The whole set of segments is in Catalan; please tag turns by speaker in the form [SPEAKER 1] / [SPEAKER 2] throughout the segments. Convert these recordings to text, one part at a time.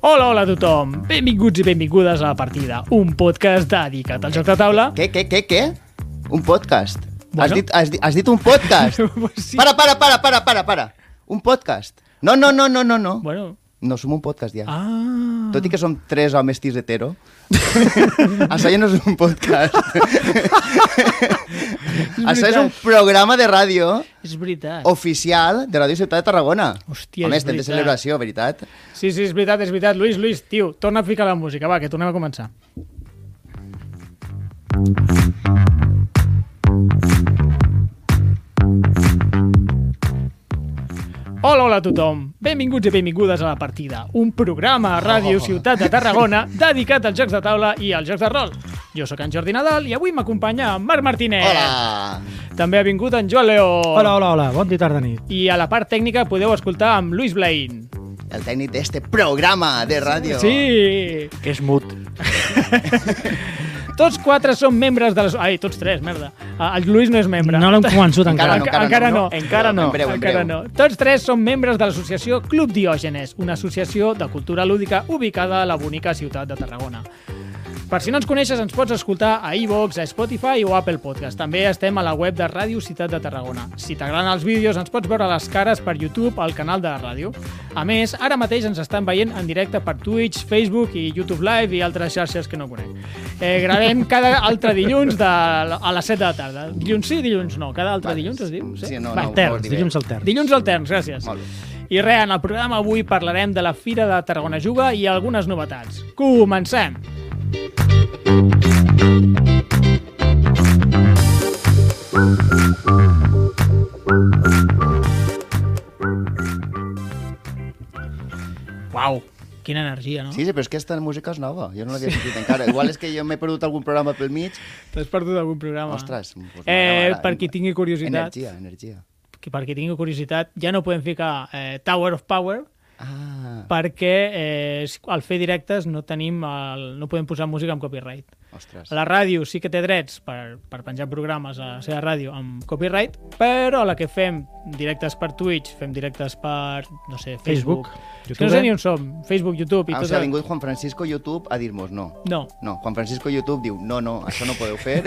[SPEAKER 1] Hola, hola a tothom. Benvinguts i benvingudes a La Partida, un podcast dedicat al joc de taula.
[SPEAKER 2] Què, què, què, què? Un podcast.
[SPEAKER 1] Bueno.
[SPEAKER 2] Bueno. Has, dit, has, dit, has dit un podcast.
[SPEAKER 1] Sí.
[SPEAKER 2] Para, para, para, para, para, para. Un podcast. No, no, no, no, no, no.
[SPEAKER 1] Bueno,
[SPEAKER 2] No som un podcast ja. Ah.
[SPEAKER 1] ah...
[SPEAKER 2] Tot i que som tres homes tis hetero, això ja no és un podcast. això és un programa de ràdio
[SPEAKER 1] És veritat.
[SPEAKER 2] oficial de Ràdio Ciutat de Tarragona.
[SPEAKER 1] Hòstia,
[SPEAKER 2] Home,
[SPEAKER 1] és
[SPEAKER 2] estem de
[SPEAKER 1] veritat.
[SPEAKER 2] celebració, veritat.
[SPEAKER 1] Sí, sí, és veritat, és veritat. Lluís, Lluís, tio, torna a ficar la música. Va, que tornem a començar. Hola, hola a tothom. Benvinguts i benvingudes a La Partida, un programa a
[SPEAKER 3] Oh.
[SPEAKER 1] Ràdio Ciutat de Tarragona dedicat als jocs de taula i als jocs de rol. Jo sóc en Jordi Nadal i avui m'acompanya en Marc Martínez.
[SPEAKER 2] Hola!
[SPEAKER 1] També ha vingut en Joan Leó.
[SPEAKER 3] Hola, hola, hola, bon dia, tarda, nit.
[SPEAKER 1] I a la part tècnica podeu escoltar amb Lluís Blain.
[SPEAKER 2] El tècnic d'este programa de ràdio.
[SPEAKER 1] Sí!
[SPEAKER 3] Que és mut.
[SPEAKER 1] Tots quatre són membres de les... Ai, tots tres, merda. Ah, El Lluís no és membre.
[SPEAKER 3] No l'hem convençut
[SPEAKER 2] Encara
[SPEAKER 3] encara.
[SPEAKER 1] Enca-
[SPEAKER 2] no, encara,
[SPEAKER 1] encara no.
[SPEAKER 3] Encara no.
[SPEAKER 2] En breu, en
[SPEAKER 1] Encara
[SPEAKER 2] breu.
[SPEAKER 1] no. Tots tres són membres de l'associació Club Diògenes, una associació de cultura lúdica ubicada a la bonica ciutat de Tarragona. Per si no ens coneixes, ens pots escoltar a iVox, a Spotify o a Apple Podcast. També estem a la web de Ràdio Ciutat de Tarragona. Si t'agraden els vídeos, ens pots veure les cares per YouTube al canal de la ràdio. A més, ara mateix ens estan veient en directe per Twitch, Facebook i YouTube Live i altres xarxes que no conec. Eh, gravem cada altre dilluns de, a les 7 de la tarda. Dilluns sí, dilluns no. Cada altre
[SPEAKER 2] Vale,
[SPEAKER 1] dilluns es diu?
[SPEAKER 2] sí, no,
[SPEAKER 1] Va,
[SPEAKER 2] no,
[SPEAKER 3] Terç,
[SPEAKER 2] Molt bé.
[SPEAKER 3] dilluns al terç.
[SPEAKER 1] Dilluns alterns, gràcies.
[SPEAKER 2] Molt bé.
[SPEAKER 1] I res, en el programa avui parlarem de la Fira de Tarragona Juga i algunes novetats. Comencem! Uau, quina energia, no?
[SPEAKER 2] Sí, sí, però és que aquesta música és nova. Jo no l'havia sentit encara. Igual és que jo m'he perdut algun programa pel mig.
[SPEAKER 1] T'has perdut algun programa.
[SPEAKER 2] Ostres.
[SPEAKER 1] Ah.
[SPEAKER 2] Doncs
[SPEAKER 1] eh,
[SPEAKER 2] m'agrada.
[SPEAKER 1] per qui tingui curiositat,
[SPEAKER 2] Energia, energia.
[SPEAKER 1] que per qui tingui curiositat, ja no podem ficar eh, Tower of Power,
[SPEAKER 2] Ah,
[SPEAKER 1] perquè eh, si- al fer directes no tenim el, no podem posar música amb copyright.
[SPEAKER 2] ostres.
[SPEAKER 1] La ràdio sí que té drets per, per penjar programes a la seva ràdio amb copyright, però la que fem directes per Twitch, fem directes per, no sé, Facebook...
[SPEAKER 3] Facebook,
[SPEAKER 1] És que no sé
[SPEAKER 3] YouTube.
[SPEAKER 1] ni on som, Facebook, YouTube i
[SPEAKER 2] Ah, o
[SPEAKER 1] tot...
[SPEAKER 2] sigui, ha vingut Juan Francisco YouTube a dir-nos no.
[SPEAKER 1] No,
[SPEAKER 2] No, Juan Francisco YouTube diu, no, no, això no podeu fer.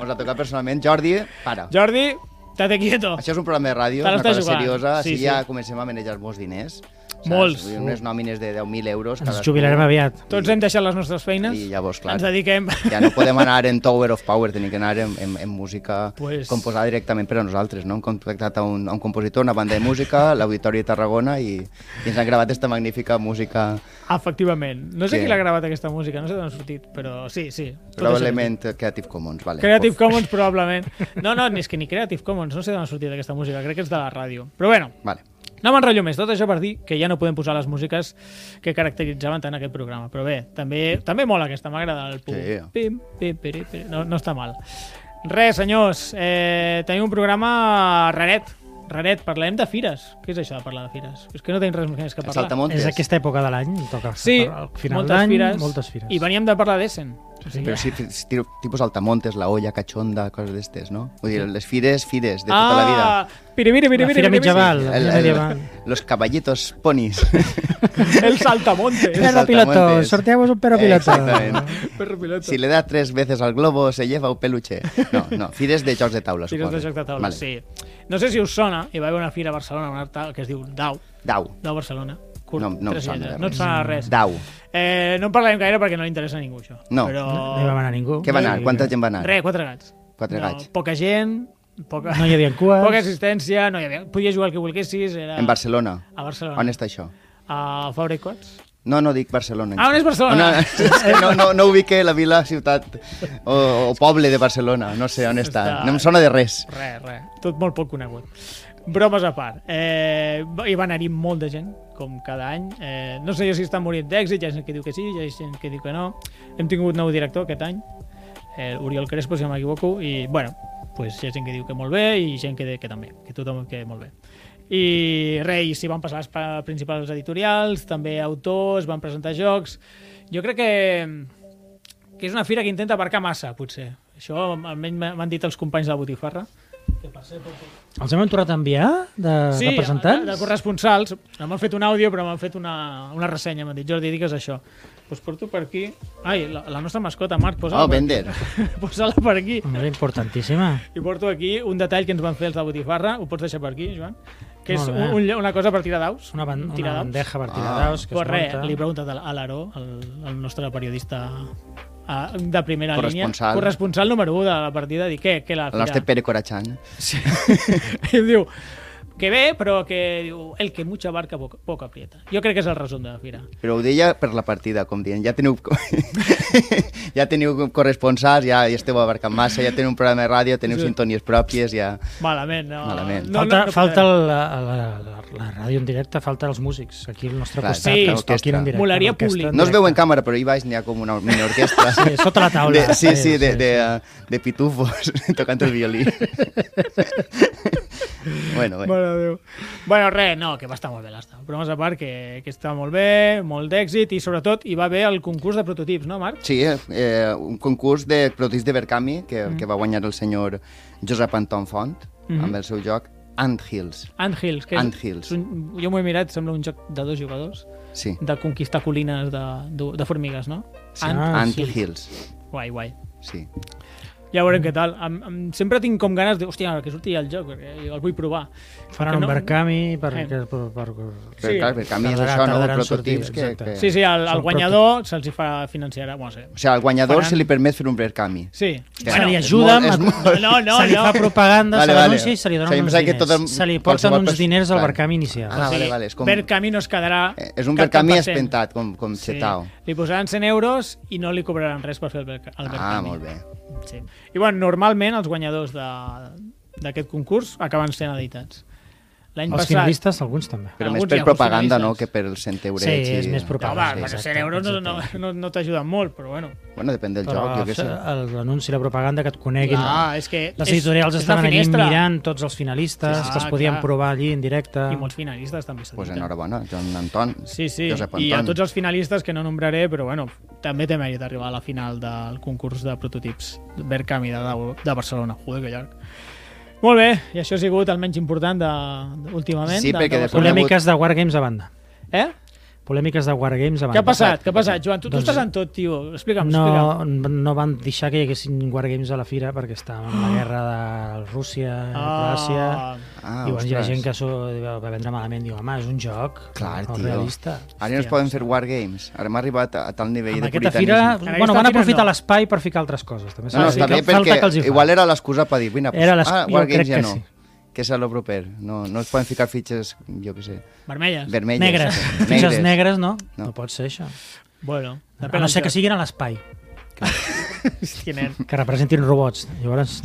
[SPEAKER 2] Us la toca personalment. Jordi, para.
[SPEAKER 1] Jordi, tate quieto.
[SPEAKER 2] Això és un programa de ràdio,
[SPEAKER 1] Te
[SPEAKER 2] una
[SPEAKER 1] l'estàs
[SPEAKER 2] cosa
[SPEAKER 1] jugant.
[SPEAKER 2] seriosa.
[SPEAKER 1] Sí,
[SPEAKER 2] Sí,
[SPEAKER 1] sí.
[SPEAKER 2] sí. ja comencem a manejar molts diners. Saps?
[SPEAKER 1] Molts.
[SPEAKER 2] Vull dir, Unes nòmines de 10.000 euros.
[SPEAKER 3] Ens
[SPEAKER 2] cadascú.
[SPEAKER 3] jubilarem aviat.
[SPEAKER 1] Tots hem deixat les nostres feines,
[SPEAKER 2] I llavors, clar.
[SPEAKER 1] ens dediquem...
[SPEAKER 2] Ja no podem anar en Tower of Power, tenim que anar en, en, en música
[SPEAKER 1] Pues-
[SPEAKER 2] pues... composada directament per a nosaltres, no? Hem contactat a un, a un compositor, una banda de música, l'Auditori de Tarragona, i, i ens han gravat aquesta magnífica música,
[SPEAKER 1] Efectivament. No sé
[SPEAKER 2] Sí.
[SPEAKER 1] qui l'ha gravat aquesta música, no sé d'on ha sortit, però sí, sí. tot
[SPEAKER 2] probablement eh, Creative Commons, vale.
[SPEAKER 1] Creative Commons, probablement. No, no, ni és que ni Creative Commons, no sé d'on ha sortit aquesta música, crec que és de la ràdio. Però bueno,
[SPEAKER 2] Vale.
[SPEAKER 1] no m'enrotllo més, tot això per dir que ja no podem posar les músiques que caracteritzaven tant aquest programa. Però bé, també, també mola aquesta, m'agrada el pum.
[SPEAKER 2] Sí.
[SPEAKER 1] Pim, pim, pere, pere. No, no està mal. Res, senyors, eh, tenim un programa raret. Raret, parlem de fires. Què és això de parlar de fires? És que no tenim res més que
[SPEAKER 2] El
[SPEAKER 1] parlar.
[SPEAKER 2] Saltamontes.
[SPEAKER 3] És aquesta època de l'any, toca.
[SPEAKER 1] Sí,
[SPEAKER 3] al final
[SPEAKER 1] moltes
[SPEAKER 3] d'any,
[SPEAKER 1] fires.
[SPEAKER 3] moltes fires.
[SPEAKER 1] I veníem de parlar d'Essen. O sigui,
[SPEAKER 2] Però sí, fi- si tiro- tipus Altamontes, la olla, cachonda, coses d'estes, no? Vull dir, les fires, fires, de tota la vida.
[SPEAKER 1] Ah, piri, piri, piri,
[SPEAKER 3] La
[SPEAKER 1] piri,
[SPEAKER 3] fira
[SPEAKER 1] piri,
[SPEAKER 3] mitjaval, la
[SPEAKER 2] El-
[SPEAKER 3] fira
[SPEAKER 2] el-
[SPEAKER 3] medieval.
[SPEAKER 2] los caballitos ponis.
[SPEAKER 1] El saltamontes.
[SPEAKER 2] El
[SPEAKER 3] Perro piloto,
[SPEAKER 2] saltamontes.
[SPEAKER 3] sorteamos un perro piloto.
[SPEAKER 2] Exactament.
[SPEAKER 1] Perro piloto.
[SPEAKER 2] Si le da tres veces al globo, se lleva un peluche. No, no, fires de jocs de taula,
[SPEAKER 1] Fires
[SPEAKER 2] suposo.
[SPEAKER 1] de joc de taula,
[SPEAKER 2] Vale.
[SPEAKER 1] sí. No sé si us sona, hi va haver una fira a Barcelona, una tal, que es diu DAU,
[SPEAKER 2] Dau.
[SPEAKER 1] DAU Barcelona.
[SPEAKER 2] No, no em
[SPEAKER 1] tres
[SPEAKER 2] sona
[SPEAKER 1] lletres.
[SPEAKER 2] de res.
[SPEAKER 1] No et sona de res.
[SPEAKER 2] Dau.
[SPEAKER 1] Eh, no en parlarem gaire perquè no li interessa a ningú, això.
[SPEAKER 2] No.
[SPEAKER 1] Però...
[SPEAKER 3] No hi va anar ningú.
[SPEAKER 2] Què va anar?
[SPEAKER 3] I-
[SPEAKER 2] Quanta gent va anar?
[SPEAKER 1] Res, quatre gats.
[SPEAKER 2] Quatre gats.
[SPEAKER 1] Poca gent, poca...
[SPEAKER 3] No hi havia cues.
[SPEAKER 1] Poca assistència, no hi havia... Podies jugar el que volguessis, era...
[SPEAKER 2] En Barcelona.
[SPEAKER 1] A Barcelona.
[SPEAKER 2] On està això?
[SPEAKER 1] A Fabra i Coats.
[SPEAKER 2] No, no dic Barcelona.
[SPEAKER 1] Ah, on és Barcelona?
[SPEAKER 2] No, no, és que no, no, no ubique la vila, ciutat o, o poble de Barcelona. No sé on està.
[SPEAKER 1] Està-
[SPEAKER 2] No em sona de res.
[SPEAKER 1] Res, res. Tot molt poc conegut. Bromes a part. Eh, hi va anar-hi molt de gent, com cada any. Eh, no sé jo si està morint d'èxit, hi ha gent que diu que sí, hi ha gent que diu que no. Hem tingut nou director aquest any, eh, Oriol Crespo, si no m'equivoco, i, bueno, pues hi ha gent que diu que molt bé i gent que, que també, que tothom que molt bé. I res, i s'hi van passar les pa- principals editorials, també autors, van presentar jocs. Jo crec que que és una fira que intenta abarcar massa, potser. Això almenys m'han dit els companys de la botifarra,
[SPEAKER 3] Els hem tornat a enviar de
[SPEAKER 1] Sí,
[SPEAKER 3] representants?
[SPEAKER 1] de, de corresponsals. No m'han fet un àudio, però m'han fet una, una ressenya. M'han dit, Jordi, digues això. Doncs porto per aquí... Ai, la, la nostra mascota, Marc, posa-la
[SPEAKER 2] Oh, Bender.
[SPEAKER 1] posa per aquí.
[SPEAKER 3] Era importantíssima.
[SPEAKER 1] I porto aquí un detall que ens van fer els de Botifarra, ho pots deixar per aquí, Joan, que és
[SPEAKER 3] Molt bé.
[SPEAKER 1] un, un, lle- una cosa per tirar daus.
[SPEAKER 3] Una, ban una
[SPEAKER 1] Tirar daus.
[SPEAKER 3] bandeja per tirar
[SPEAKER 2] Ah.
[SPEAKER 3] daus. que es
[SPEAKER 1] Pues res,
[SPEAKER 3] munta.
[SPEAKER 1] li he preguntat a l- a l'Aró, el, el nostre periodista a, de primera línia,
[SPEAKER 2] Corresponsal.
[SPEAKER 1] corresponsal número 1 de la partida, dir què, què la
[SPEAKER 2] El nostre Pere Corachan.
[SPEAKER 1] Sí. I em diu, que bé, però que diu, el que mucha barca poc, poc aprieta. Jo crec que és el resum de la fira.
[SPEAKER 2] Però ho deia per la partida, com dient, ja teniu, ja teniu corresponsals, ja, ja esteu abarcant massa, ja teniu un programa de ràdio, teniu
[SPEAKER 1] Sí.
[SPEAKER 2] sintonies pròpies, ja...
[SPEAKER 1] Malament, no.
[SPEAKER 2] Malament.
[SPEAKER 1] No,
[SPEAKER 3] falta,
[SPEAKER 1] no, no
[SPEAKER 3] falta
[SPEAKER 1] podem.
[SPEAKER 3] la, la, la, la ràdio en directe, falten els músics. Aquí al nostre
[SPEAKER 2] Clar,
[SPEAKER 3] costat,
[SPEAKER 1] sí,
[SPEAKER 3] que ens toquin
[SPEAKER 2] orquestra.
[SPEAKER 3] en directe.
[SPEAKER 1] Molaria
[SPEAKER 3] l'orquestra
[SPEAKER 1] públic.
[SPEAKER 3] en
[SPEAKER 2] No es veu en
[SPEAKER 3] directe.
[SPEAKER 2] càmera, però hi baix n'hi ha com una mini orquestra.
[SPEAKER 3] Sí, sota la taula.
[SPEAKER 2] De, sí, sí, de, de, uh, de pitufos tocant el violí. bueno, eh, bé.
[SPEAKER 1] Mare de Déu. Bueno, res, no, que va estar molt bé l'Asta. Però més a part que, que està molt bé, molt d'èxit i sobretot hi va haver el concurs de prototips, no, Marc?
[SPEAKER 2] Sí, eh, un concurs de productes de Berkami que, mm. que va guanyar el senyor Josep Anton Font
[SPEAKER 1] Mhm.
[SPEAKER 2] mm. amb el seu joc Ant Hills.
[SPEAKER 1] Ant Hills. Que és-
[SPEAKER 2] Ant Hills.
[SPEAKER 1] és Un, jo m'ho he mirat, sembla un joc de dos jugadors,
[SPEAKER 2] Sí,
[SPEAKER 1] de conquistar colines de, de, de formigues, no?
[SPEAKER 2] sí.
[SPEAKER 1] Ant,
[SPEAKER 3] Ah,
[SPEAKER 2] Ant
[SPEAKER 3] sí.
[SPEAKER 2] Hills.
[SPEAKER 1] Guai, guai.
[SPEAKER 2] Sí.
[SPEAKER 1] Ja veurem què tal. Em, em, sempre tinc com ganes de... Hòstia, que surti el joc, perquè jo el vull provar.
[SPEAKER 3] Faran
[SPEAKER 1] Que
[SPEAKER 3] un
[SPEAKER 1] no-
[SPEAKER 3] Berkami per...
[SPEAKER 1] Eh.
[SPEAKER 3] per, per, per...
[SPEAKER 2] Però
[SPEAKER 1] Sí.
[SPEAKER 2] sí. clar, Berkami és
[SPEAKER 3] Tardarà-
[SPEAKER 2] això, no?
[SPEAKER 3] tardarà en
[SPEAKER 2] Prototips
[SPEAKER 3] sortir,
[SPEAKER 2] que,
[SPEAKER 3] exacte.
[SPEAKER 2] que...
[SPEAKER 1] Sí, sí, el, el
[SPEAKER 3] Són
[SPEAKER 1] guanyador se'ls hi fa financiar... Bueno, sí.
[SPEAKER 2] O sigui, al guanyador
[SPEAKER 1] Faran-
[SPEAKER 2] se li permet fer un Berkami.
[SPEAKER 1] Sí.
[SPEAKER 2] Que
[SPEAKER 3] Se li
[SPEAKER 2] és
[SPEAKER 3] ajuda
[SPEAKER 2] molt- és
[SPEAKER 3] amb-
[SPEAKER 2] molt-
[SPEAKER 1] No, no,
[SPEAKER 3] se li
[SPEAKER 1] no.
[SPEAKER 3] fa propaganda,
[SPEAKER 2] Vale,
[SPEAKER 3] se
[SPEAKER 2] vale.
[SPEAKER 3] l'anuncia i se
[SPEAKER 2] O
[SPEAKER 3] li
[SPEAKER 2] sigui,
[SPEAKER 3] donen uns
[SPEAKER 2] pensava que
[SPEAKER 3] diners.
[SPEAKER 2] tot el-
[SPEAKER 3] Se li porten
[SPEAKER 2] qualsevol
[SPEAKER 3] uns
[SPEAKER 2] pers-
[SPEAKER 3] diners al
[SPEAKER 2] Clar.
[SPEAKER 3] Berkami inicial.
[SPEAKER 2] Ah,
[SPEAKER 1] O sigui,
[SPEAKER 2] vale, vale, és com-
[SPEAKER 1] Berkami no es quedarà...
[SPEAKER 2] Eh, És un
[SPEAKER 1] cap tant
[SPEAKER 2] Berkami
[SPEAKER 1] per cent.
[SPEAKER 2] espentat, com, com sí. Chetao.
[SPEAKER 1] Li posaran 100 euros i no li cobraran res per fer el, Berca, el Berkami.
[SPEAKER 2] Ah, molt bé.
[SPEAKER 1] Sí. I bueno, normalment els guanyadors de- d'aquest concurs acaben sent editats. L'any
[SPEAKER 3] Els
[SPEAKER 1] passat...
[SPEAKER 3] finalistes, alguns també.
[SPEAKER 2] Però
[SPEAKER 1] Alguns
[SPEAKER 2] més
[SPEAKER 1] hi
[SPEAKER 2] per
[SPEAKER 1] ha
[SPEAKER 2] propaganda, no?,
[SPEAKER 1] funcionaris.
[SPEAKER 2] que per els 100 eurets.
[SPEAKER 3] Sí, és
[SPEAKER 2] i-
[SPEAKER 3] més
[SPEAKER 1] No,
[SPEAKER 3] propaganda.
[SPEAKER 1] va,
[SPEAKER 3] Exacte,
[SPEAKER 1] per 100 euros no, no,
[SPEAKER 3] exacte.
[SPEAKER 1] no, no t'ajuden molt, però bueno.
[SPEAKER 2] Bueno, depèn del
[SPEAKER 3] Però eh,
[SPEAKER 2] joc, jo què sé.
[SPEAKER 3] el- L'anunci i la propaganda Eh, que et coneguin.
[SPEAKER 1] Clar, Ah, és que
[SPEAKER 3] Les
[SPEAKER 1] és- és
[SPEAKER 3] editorials
[SPEAKER 1] la
[SPEAKER 3] estaven allí
[SPEAKER 1] finestra.
[SPEAKER 3] mirant tots els finalistes,
[SPEAKER 1] Sí,
[SPEAKER 3] que els
[SPEAKER 1] clar,
[SPEAKER 3] podien
[SPEAKER 1] clar.
[SPEAKER 3] provar allí en directe.
[SPEAKER 1] I molts finalistes també s'editen.
[SPEAKER 2] Doncs pues enhorabona, Joan Anton.
[SPEAKER 1] Sí, sí,
[SPEAKER 2] Josep
[SPEAKER 1] i a
[SPEAKER 2] Anton.
[SPEAKER 1] tots els finalistes que no nombraré, però bueno, també té mèrit arribar a la final del concurs de prototips Berkham i de, de Barcelona. Joder, que llarg. Molt bé, i això ha sigut el menys important de, de, últimament.
[SPEAKER 2] Sí,
[SPEAKER 1] de,
[SPEAKER 2] perquè
[SPEAKER 1] de
[SPEAKER 2] de
[SPEAKER 1] Barcelona.
[SPEAKER 3] Polèmiques de Wargames a banda.
[SPEAKER 1] Eh?
[SPEAKER 3] Polèmiques de Wargames a banda.
[SPEAKER 1] Què ha passat? Què ha passat, Joan? Tu,
[SPEAKER 3] Doncs-
[SPEAKER 1] tu estàs en tot, tio. Explica'm, explica'm.
[SPEAKER 3] No, no van deixar que hi haguessin Wargames a la fira perquè estàvem en la guerra de Rússia, i Croàcia...
[SPEAKER 2] Ah,
[SPEAKER 3] Diuen, hi ha
[SPEAKER 2] ostres.
[SPEAKER 3] gent que s'ho va vendre malament, diu, home, és un joc,
[SPEAKER 2] Clar,
[SPEAKER 3] no
[SPEAKER 2] tio.
[SPEAKER 3] realista.
[SPEAKER 2] Ara no es poden fer wargames. Ara hem arribat a, a tal nivell
[SPEAKER 3] Amb
[SPEAKER 2] de
[SPEAKER 3] aquesta
[SPEAKER 2] puritanisme.
[SPEAKER 3] fira,
[SPEAKER 1] En
[SPEAKER 3] bueno,
[SPEAKER 1] aquesta
[SPEAKER 3] van
[SPEAKER 1] fira
[SPEAKER 3] aprofitar
[SPEAKER 1] no.
[SPEAKER 3] l'espai per ficar altres coses. També s'ha
[SPEAKER 2] No, no,
[SPEAKER 3] de dir
[SPEAKER 2] està bé
[SPEAKER 3] que falta que els hi
[SPEAKER 2] perquè
[SPEAKER 3] fa.
[SPEAKER 2] igual era l'excusa per dir, vine, pues,
[SPEAKER 3] Era les-
[SPEAKER 2] ah,
[SPEAKER 3] jo crec
[SPEAKER 2] wargames ja
[SPEAKER 3] que
[SPEAKER 2] no.
[SPEAKER 3] sí.
[SPEAKER 2] Que és a lo proper. No, no es poden ficar fitxes, jo què sé,
[SPEAKER 1] Vermelles.
[SPEAKER 2] vermelles.
[SPEAKER 3] negres. Fitxes negres, no?
[SPEAKER 2] No.
[SPEAKER 3] No, pot ser això.
[SPEAKER 1] Bueno,
[SPEAKER 3] A no ser que siguin a l'espai,
[SPEAKER 1] Hòstia, nen.
[SPEAKER 3] que representin robots. Llavors,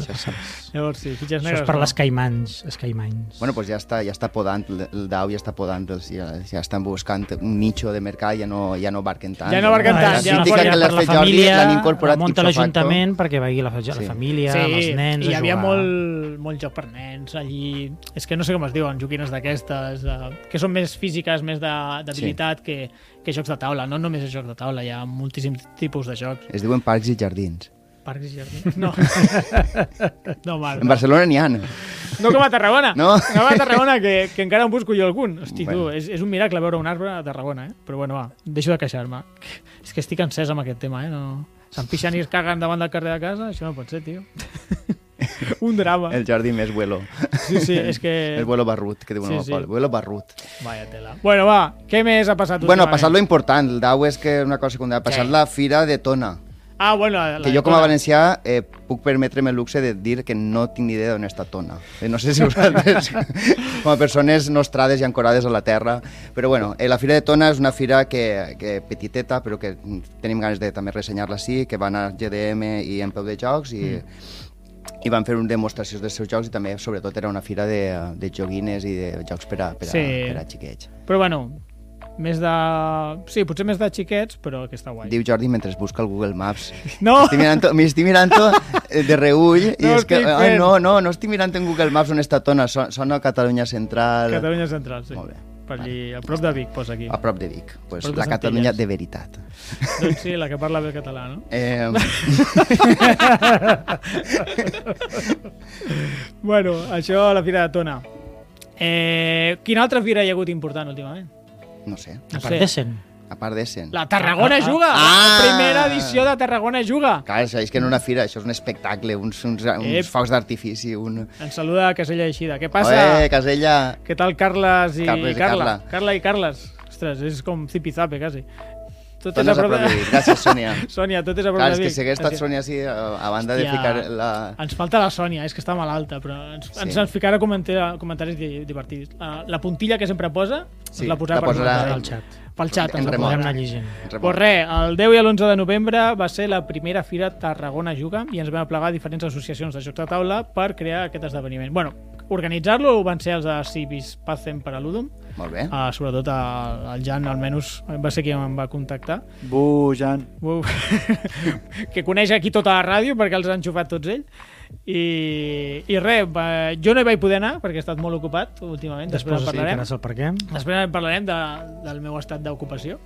[SPEAKER 1] Llavors sí, fitxes
[SPEAKER 3] això
[SPEAKER 1] negres.
[SPEAKER 3] és per
[SPEAKER 1] no.
[SPEAKER 3] les caimans. Els caimans.
[SPEAKER 2] Bueno, pues ja està, ja està podant, l- el Dau ja està podant, els- ja, ja estan buscant un nicho de mercat, ja no, ja no barquen tant.
[SPEAKER 1] Ja no barquen
[SPEAKER 3] Ah,
[SPEAKER 1] tant,
[SPEAKER 2] La
[SPEAKER 3] és
[SPEAKER 1] ja no
[SPEAKER 2] crítica
[SPEAKER 1] barquen.
[SPEAKER 2] que
[SPEAKER 3] per
[SPEAKER 2] l'ha
[SPEAKER 3] la
[SPEAKER 2] fet Jordi
[SPEAKER 3] família,
[SPEAKER 2] l'han incorporat
[SPEAKER 3] la munta
[SPEAKER 2] ipso facto.
[SPEAKER 3] l'Ajuntament perquè vagi la, la
[SPEAKER 2] Sí.
[SPEAKER 3] família,
[SPEAKER 1] Sí,
[SPEAKER 3] amb els nens,
[SPEAKER 1] i hi
[SPEAKER 3] a
[SPEAKER 1] havia
[SPEAKER 3] jugar.
[SPEAKER 1] molt, molt joc per nens allí. És que no sé com es diuen, joquines d'aquestes, eh, que són més físiques, més de- d'habilitat que, que jocs de taula. No només és joc de taula, hi ha moltíssims tipus de jocs.
[SPEAKER 2] Es diuen parcs i jardins.
[SPEAKER 1] Parcs i jardins. No, no mal.
[SPEAKER 2] En Barcelona n'hi ha.
[SPEAKER 1] No com a Tarragona.
[SPEAKER 2] No.
[SPEAKER 1] no com a Tarragona, que, que encara en busco jo algun. Hosti, bueno. tu,
[SPEAKER 2] Bueno.
[SPEAKER 1] és, és un miracle veure un arbre a Tarragona, eh? Però bueno, va, deixo de queixar-me. És que estic encès amb aquest tema, eh? No... Se'n pixen i es caguen davant del carrer de casa? Això no pot ser, tio. un drama.
[SPEAKER 2] El jardí més vuelo.
[SPEAKER 1] Sí, sí, és que...
[SPEAKER 2] El vuelo barrut, que diuen
[SPEAKER 1] Eh. Sí,
[SPEAKER 2] sí,
[SPEAKER 1] sí.
[SPEAKER 2] sí. Vuelo barrut.
[SPEAKER 1] Vaya tela. Bueno, va, què més ha passat
[SPEAKER 2] Bueno, ha
[SPEAKER 1] últimament?
[SPEAKER 2] passat lo important. El Dau és que una cosa secundària. Ha passat
[SPEAKER 1] Sí.
[SPEAKER 2] la fira de Tona.
[SPEAKER 1] Ah, bueno, la, la
[SPEAKER 2] Que jo com
[SPEAKER 1] Tona.
[SPEAKER 2] a valencià eh, puc permetre'm el luxe de dir que no tinc ni idea d'on està Tona. Eh, No sé si vosaltres, com a persones nostrades i ancorades a la terra, però bueno, eh, la Fira de Tona és una fira que, que petiteta, però que tenim ganes de també ressenyar-la sí, que van a GDM i en peu de jocs i...
[SPEAKER 1] Mm.
[SPEAKER 2] I van fer un demostració dels seus jocs i també, sobretot, era una fira de, de joguines i de jocs per a, per a,
[SPEAKER 1] Sí.
[SPEAKER 2] per a xiquets.
[SPEAKER 1] Però bueno, més de... Sí, potser més de xiquets, però que està guai.
[SPEAKER 2] Diu Jordi mentre es busca el Google Maps.
[SPEAKER 1] No!
[SPEAKER 2] Estic mirant, m'estic mirant eh, de reull i
[SPEAKER 1] No
[SPEAKER 2] és que
[SPEAKER 1] estic
[SPEAKER 2] ai,
[SPEAKER 1] fent.
[SPEAKER 2] no, no, no estic mirant en Google Maps on està Tona, so- sona Catalunya Central.
[SPEAKER 1] Catalunya Central, sí.
[SPEAKER 2] Molt bé. Ah.
[SPEAKER 1] per allí, a prop de Vic, posa aquí.
[SPEAKER 2] a prop de Vic. Pues,
[SPEAKER 1] Prop de
[SPEAKER 2] la Catalunya
[SPEAKER 1] Centelles.
[SPEAKER 2] de veritat.
[SPEAKER 1] Doncs sí, la que parla bé el català, no?
[SPEAKER 2] Eh,
[SPEAKER 1] Bueno, això a la Fira de Tona. Eh, quina altra fira hi ha hagut important últimament?
[SPEAKER 2] no sé,
[SPEAKER 1] No sé.
[SPEAKER 3] A part d'Essen.
[SPEAKER 2] a part d'Essen.
[SPEAKER 1] La Tarragona juga!
[SPEAKER 2] Ah!
[SPEAKER 1] La primera edició de Tarragona juga!
[SPEAKER 2] Clar, això és que en una fira, això és un espectacle, uns, uns,
[SPEAKER 1] Ep.
[SPEAKER 2] uns faus d'artifici, un...
[SPEAKER 1] Ens saluda Casella Eixida. Què passa?
[SPEAKER 2] Oe, Casella!
[SPEAKER 1] Què tal, Carles i,
[SPEAKER 2] Carles i
[SPEAKER 1] Carla?
[SPEAKER 2] Carla.
[SPEAKER 1] Carla i Carles. Ostres, és com zipizape, quasi. Tot
[SPEAKER 2] Tot és a prop de Vic. Gràcies, Sònia.
[SPEAKER 1] Sònia, tot és a prop
[SPEAKER 2] Clar, és
[SPEAKER 1] de Vic.
[SPEAKER 2] que si hagués estat
[SPEAKER 1] Gràcies.
[SPEAKER 2] Sònia així, a a banda de
[SPEAKER 1] Hòstia.
[SPEAKER 2] ficar la...
[SPEAKER 1] Ens falta la Sònia, és que està malalta, però ens,
[SPEAKER 2] Sí.
[SPEAKER 1] sí. ens en ficarà comentar, comentaris di- divertits. La, la puntilla que sempre posa,
[SPEAKER 2] Sí,
[SPEAKER 1] la posarà
[SPEAKER 2] la
[SPEAKER 1] per
[SPEAKER 2] posarà
[SPEAKER 1] nosaltres,
[SPEAKER 3] al xat.
[SPEAKER 1] pel xat.
[SPEAKER 2] en
[SPEAKER 1] ens la
[SPEAKER 2] remot.
[SPEAKER 1] posarà.
[SPEAKER 3] Podem anar llegint.
[SPEAKER 1] Pues
[SPEAKER 2] Remot.
[SPEAKER 1] res, el 10 i l'11 de novembre va ser la primera fira Tarragona Juga i ens vam aplegar diferents associacions de jocs de taula per crear aquest esdeveniment. bueno, organitzar-lo van ser els de Civis Pacem per a Ludum,
[SPEAKER 2] Molt bé.
[SPEAKER 1] uh, sobretot el, el Jan almenys eh, va ser qui em va contactar.
[SPEAKER 4] Bujan.
[SPEAKER 1] Uf. que coneix aquí tota la ràdio perquè els han xufat tots ell i, i res, va- jo no hi vaig poder anar perquè he estat molt ocupat últimament després, en
[SPEAKER 3] Després es
[SPEAKER 1] parlarem
[SPEAKER 3] dedicaràs al per què.
[SPEAKER 1] després en parlarem de, del meu estat d'ocupació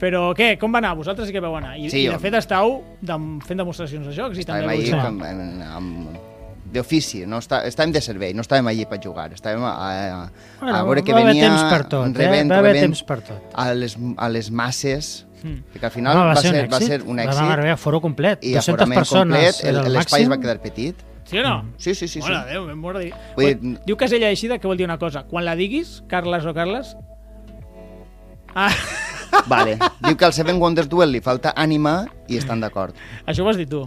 [SPEAKER 1] però què, com va anar? Vosaltres sí que veu anar i,
[SPEAKER 2] Sí,
[SPEAKER 1] i de
[SPEAKER 2] jo-
[SPEAKER 1] fet estàveu dem, fent demostracions de jocs i
[SPEAKER 2] Estàvem
[SPEAKER 1] també
[SPEAKER 2] allí
[SPEAKER 1] vau jugar.
[SPEAKER 2] com, en, amb, d'ofici, no està, estàvem de servei, no estàvem allí per jugar, estàvem a, a, a veure què
[SPEAKER 3] va haver
[SPEAKER 2] venia...
[SPEAKER 3] temps per tot,
[SPEAKER 2] rebent,
[SPEAKER 3] eh? Va haver
[SPEAKER 2] rebent
[SPEAKER 3] temps per Hmm. tot.
[SPEAKER 2] A les, a les masses,
[SPEAKER 1] Mm.
[SPEAKER 2] que al final va, ser, va ser un
[SPEAKER 3] Vam
[SPEAKER 2] èxit,
[SPEAKER 3] arribar a foro complet,
[SPEAKER 2] i
[SPEAKER 3] 200
[SPEAKER 2] aforament
[SPEAKER 3] persones,
[SPEAKER 2] complet,
[SPEAKER 3] complet,
[SPEAKER 2] el- l'espai es va quedar petit.
[SPEAKER 1] sí o no?
[SPEAKER 2] Sí, Mm. sí, sí.
[SPEAKER 1] Hola,
[SPEAKER 2] sí.
[SPEAKER 1] Déu, m'he mort de dir.
[SPEAKER 2] Vull
[SPEAKER 1] Bueno,
[SPEAKER 2] dir-
[SPEAKER 1] Diu Casella Eixida que vol dir una cosa. Quan la diguis, Carles o Carles... Ah,
[SPEAKER 3] eh?
[SPEAKER 2] Vale. Diu que al Seven Wonders Duel li falta ànima i estan d'acord.
[SPEAKER 1] això ho has dit tu.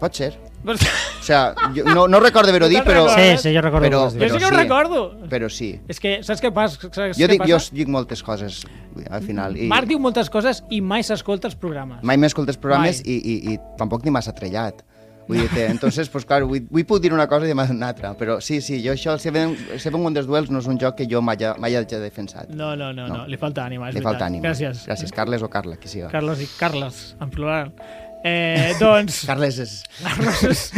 [SPEAKER 2] Pot ser.
[SPEAKER 1] Però-
[SPEAKER 2] O sea, jo no, no recordo haver-ho dit, però,
[SPEAKER 1] recordes?
[SPEAKER 3] Sí, sí, jo recordo
[SPEAKER 2] Però-
[SPEAKER 3] però,
[SPEAKER 1] Jo
[SPEAKER 3] però,
[SPEAKER 1] sí que ho
[SPEAKER 2] sí.
[SPEAKER 1] recordo.
[SPEAKER 2] però sí.
[SPEAKER 1] És que saps què pas- saps què passa?
[SPEAKER 2] Jo dic, jo dic moltes coses al final. I
[SPEAKER 1] Marc diu moltes coses i mai s'escolta els programes.
[SPEAKER 2] Mai més escoltes programes
[SPEAKER 1] Mai.
[SPEAKER 2] i, i, i tampoc ni m'has atrellat. Vull dir, que, entonces, pues, clar, vull, vull puc dir una cosa i demà una altra, però sí, sí, jo això, el Seven, Seven Wonders Duels no és un joc que jo mai, ha- mai hagi defensat.
[SPEAKER 1] No, no, no, no,
[SPEAKER 2] No.
[SPEAKER 1] li falta ànima, és
[SPEAKER 2] Li
[SPEAKER 1] veritat.
[SPEAKER 2] falta ànima.
[SPEAKER 1] Gràcies.
[SPEAKER 2] Gràcies, Carles o Carla, qui siga.
[SPEAKER 1] Carles i Carles, en plural. Eh, doncs,
[SPEAKER 2] Carles és...
[SPEAKER 1] Carles.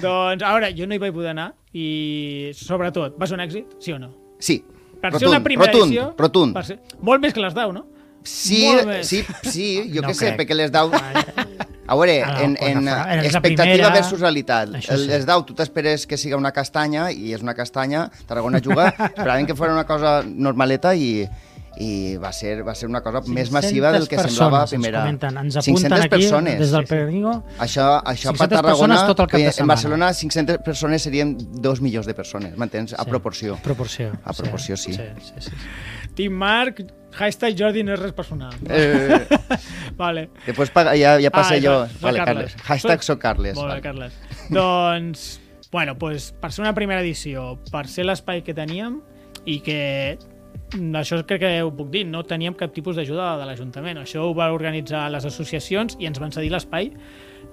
[SPEAKER 1] doncs, a veure, jo no hi vaig poder anar i, sobretot, va ser un èxit, sí o no?
[SPEAKER 2] Sí,
[SPEAKER 1] Per ser una primera
[SPEAKER 2] rotund,
[SPEAKER 1] edició...
[SPEAKER 2] rotund.
[SPEAKER 1] per Ser... Molt més que les 10, no?
[SPEAKER 2] Sí,
[SPEAKER 1] Molt bé.
[SPEAKER 2] sí, sí, jo no
[SPEAKER 3] No
[SPEAKER 2] què sé,
[SPEAKER 3] crec.
[SPEAKER 2] perquè les dau... A veure,
[SPEAKER 3] Ah, no,
[SPEAKER 2] en,
[SPEAKER 3] quan
[SPEAKER 2] en
[SPEAKER 3] la fa- eres la
[SPEAKER 2] expectativa
[SPEAKER 3] primera.
[SPEAKER 2] versus realitat.
[SPEAKER 3] Això
[SPEAKER 2] El,
[SPEAKER 3] sí.
[SPEAKER 2] les dau, tu t'esperes que siga una castanya, i és una castanya, Tarragona juga, esperaven que fos una cosa normaleta i i va ser, va ser una cosa més massiva del que semblava a primera.
[SPEAKER 3] Ens comenten, ens apunten aquí,
[SPEAKER 2] persones.
[SPEAKER 3] des del Pernigo.
[SPEAKER 2] Això, això
[SPEAKER 3] 500
[SPEAKER 2] per Tarragona,
[SPEAKER 3] persones tot el cap de
[SPEAKER 2] vull dir, en
[SPEAKER 3] setmana.
[SPEAKER 2] Barcelona 500 persones serien 2 milions de persones, m'entens? A proporció.
[SPEAKER 3] Proporció.
[SPEAKER 2] A proporció, sí.
[SPEAKER 3] sí, sí, sí.
[SPEAKER 1] Team Marc, hashtag Jordi no és res personal.
[SPEAKER 2] Eh,
[SPEAKER 1] Vale.
[SPEAKER 2] Després pa- ja, ja passé
[SPEAKER 1] Ah,
[SPEAKER 2] jo.
[SPEAKER 1] soc
[SPEAKER 2] Vale,
[SPEAKER 1] Carles.
[SPEAKER 2] Carles. Hashtag
[SPEAKER 1] Soc-
[SPEAKER 2] soc Carles.
[SPEAKER 1] Molt bé,
[SPEAKER 2] vale.
[SPEAKER 1] Carles. doncs, bueno, pues, per ser una primera edició, per ser l'espai que teníem i que mm, això crec que ho puc dir, no teníem cap tipus d'ajuda de l'Ajuntament. Això ho va organitzar les associacions i ens van cedir l'espai.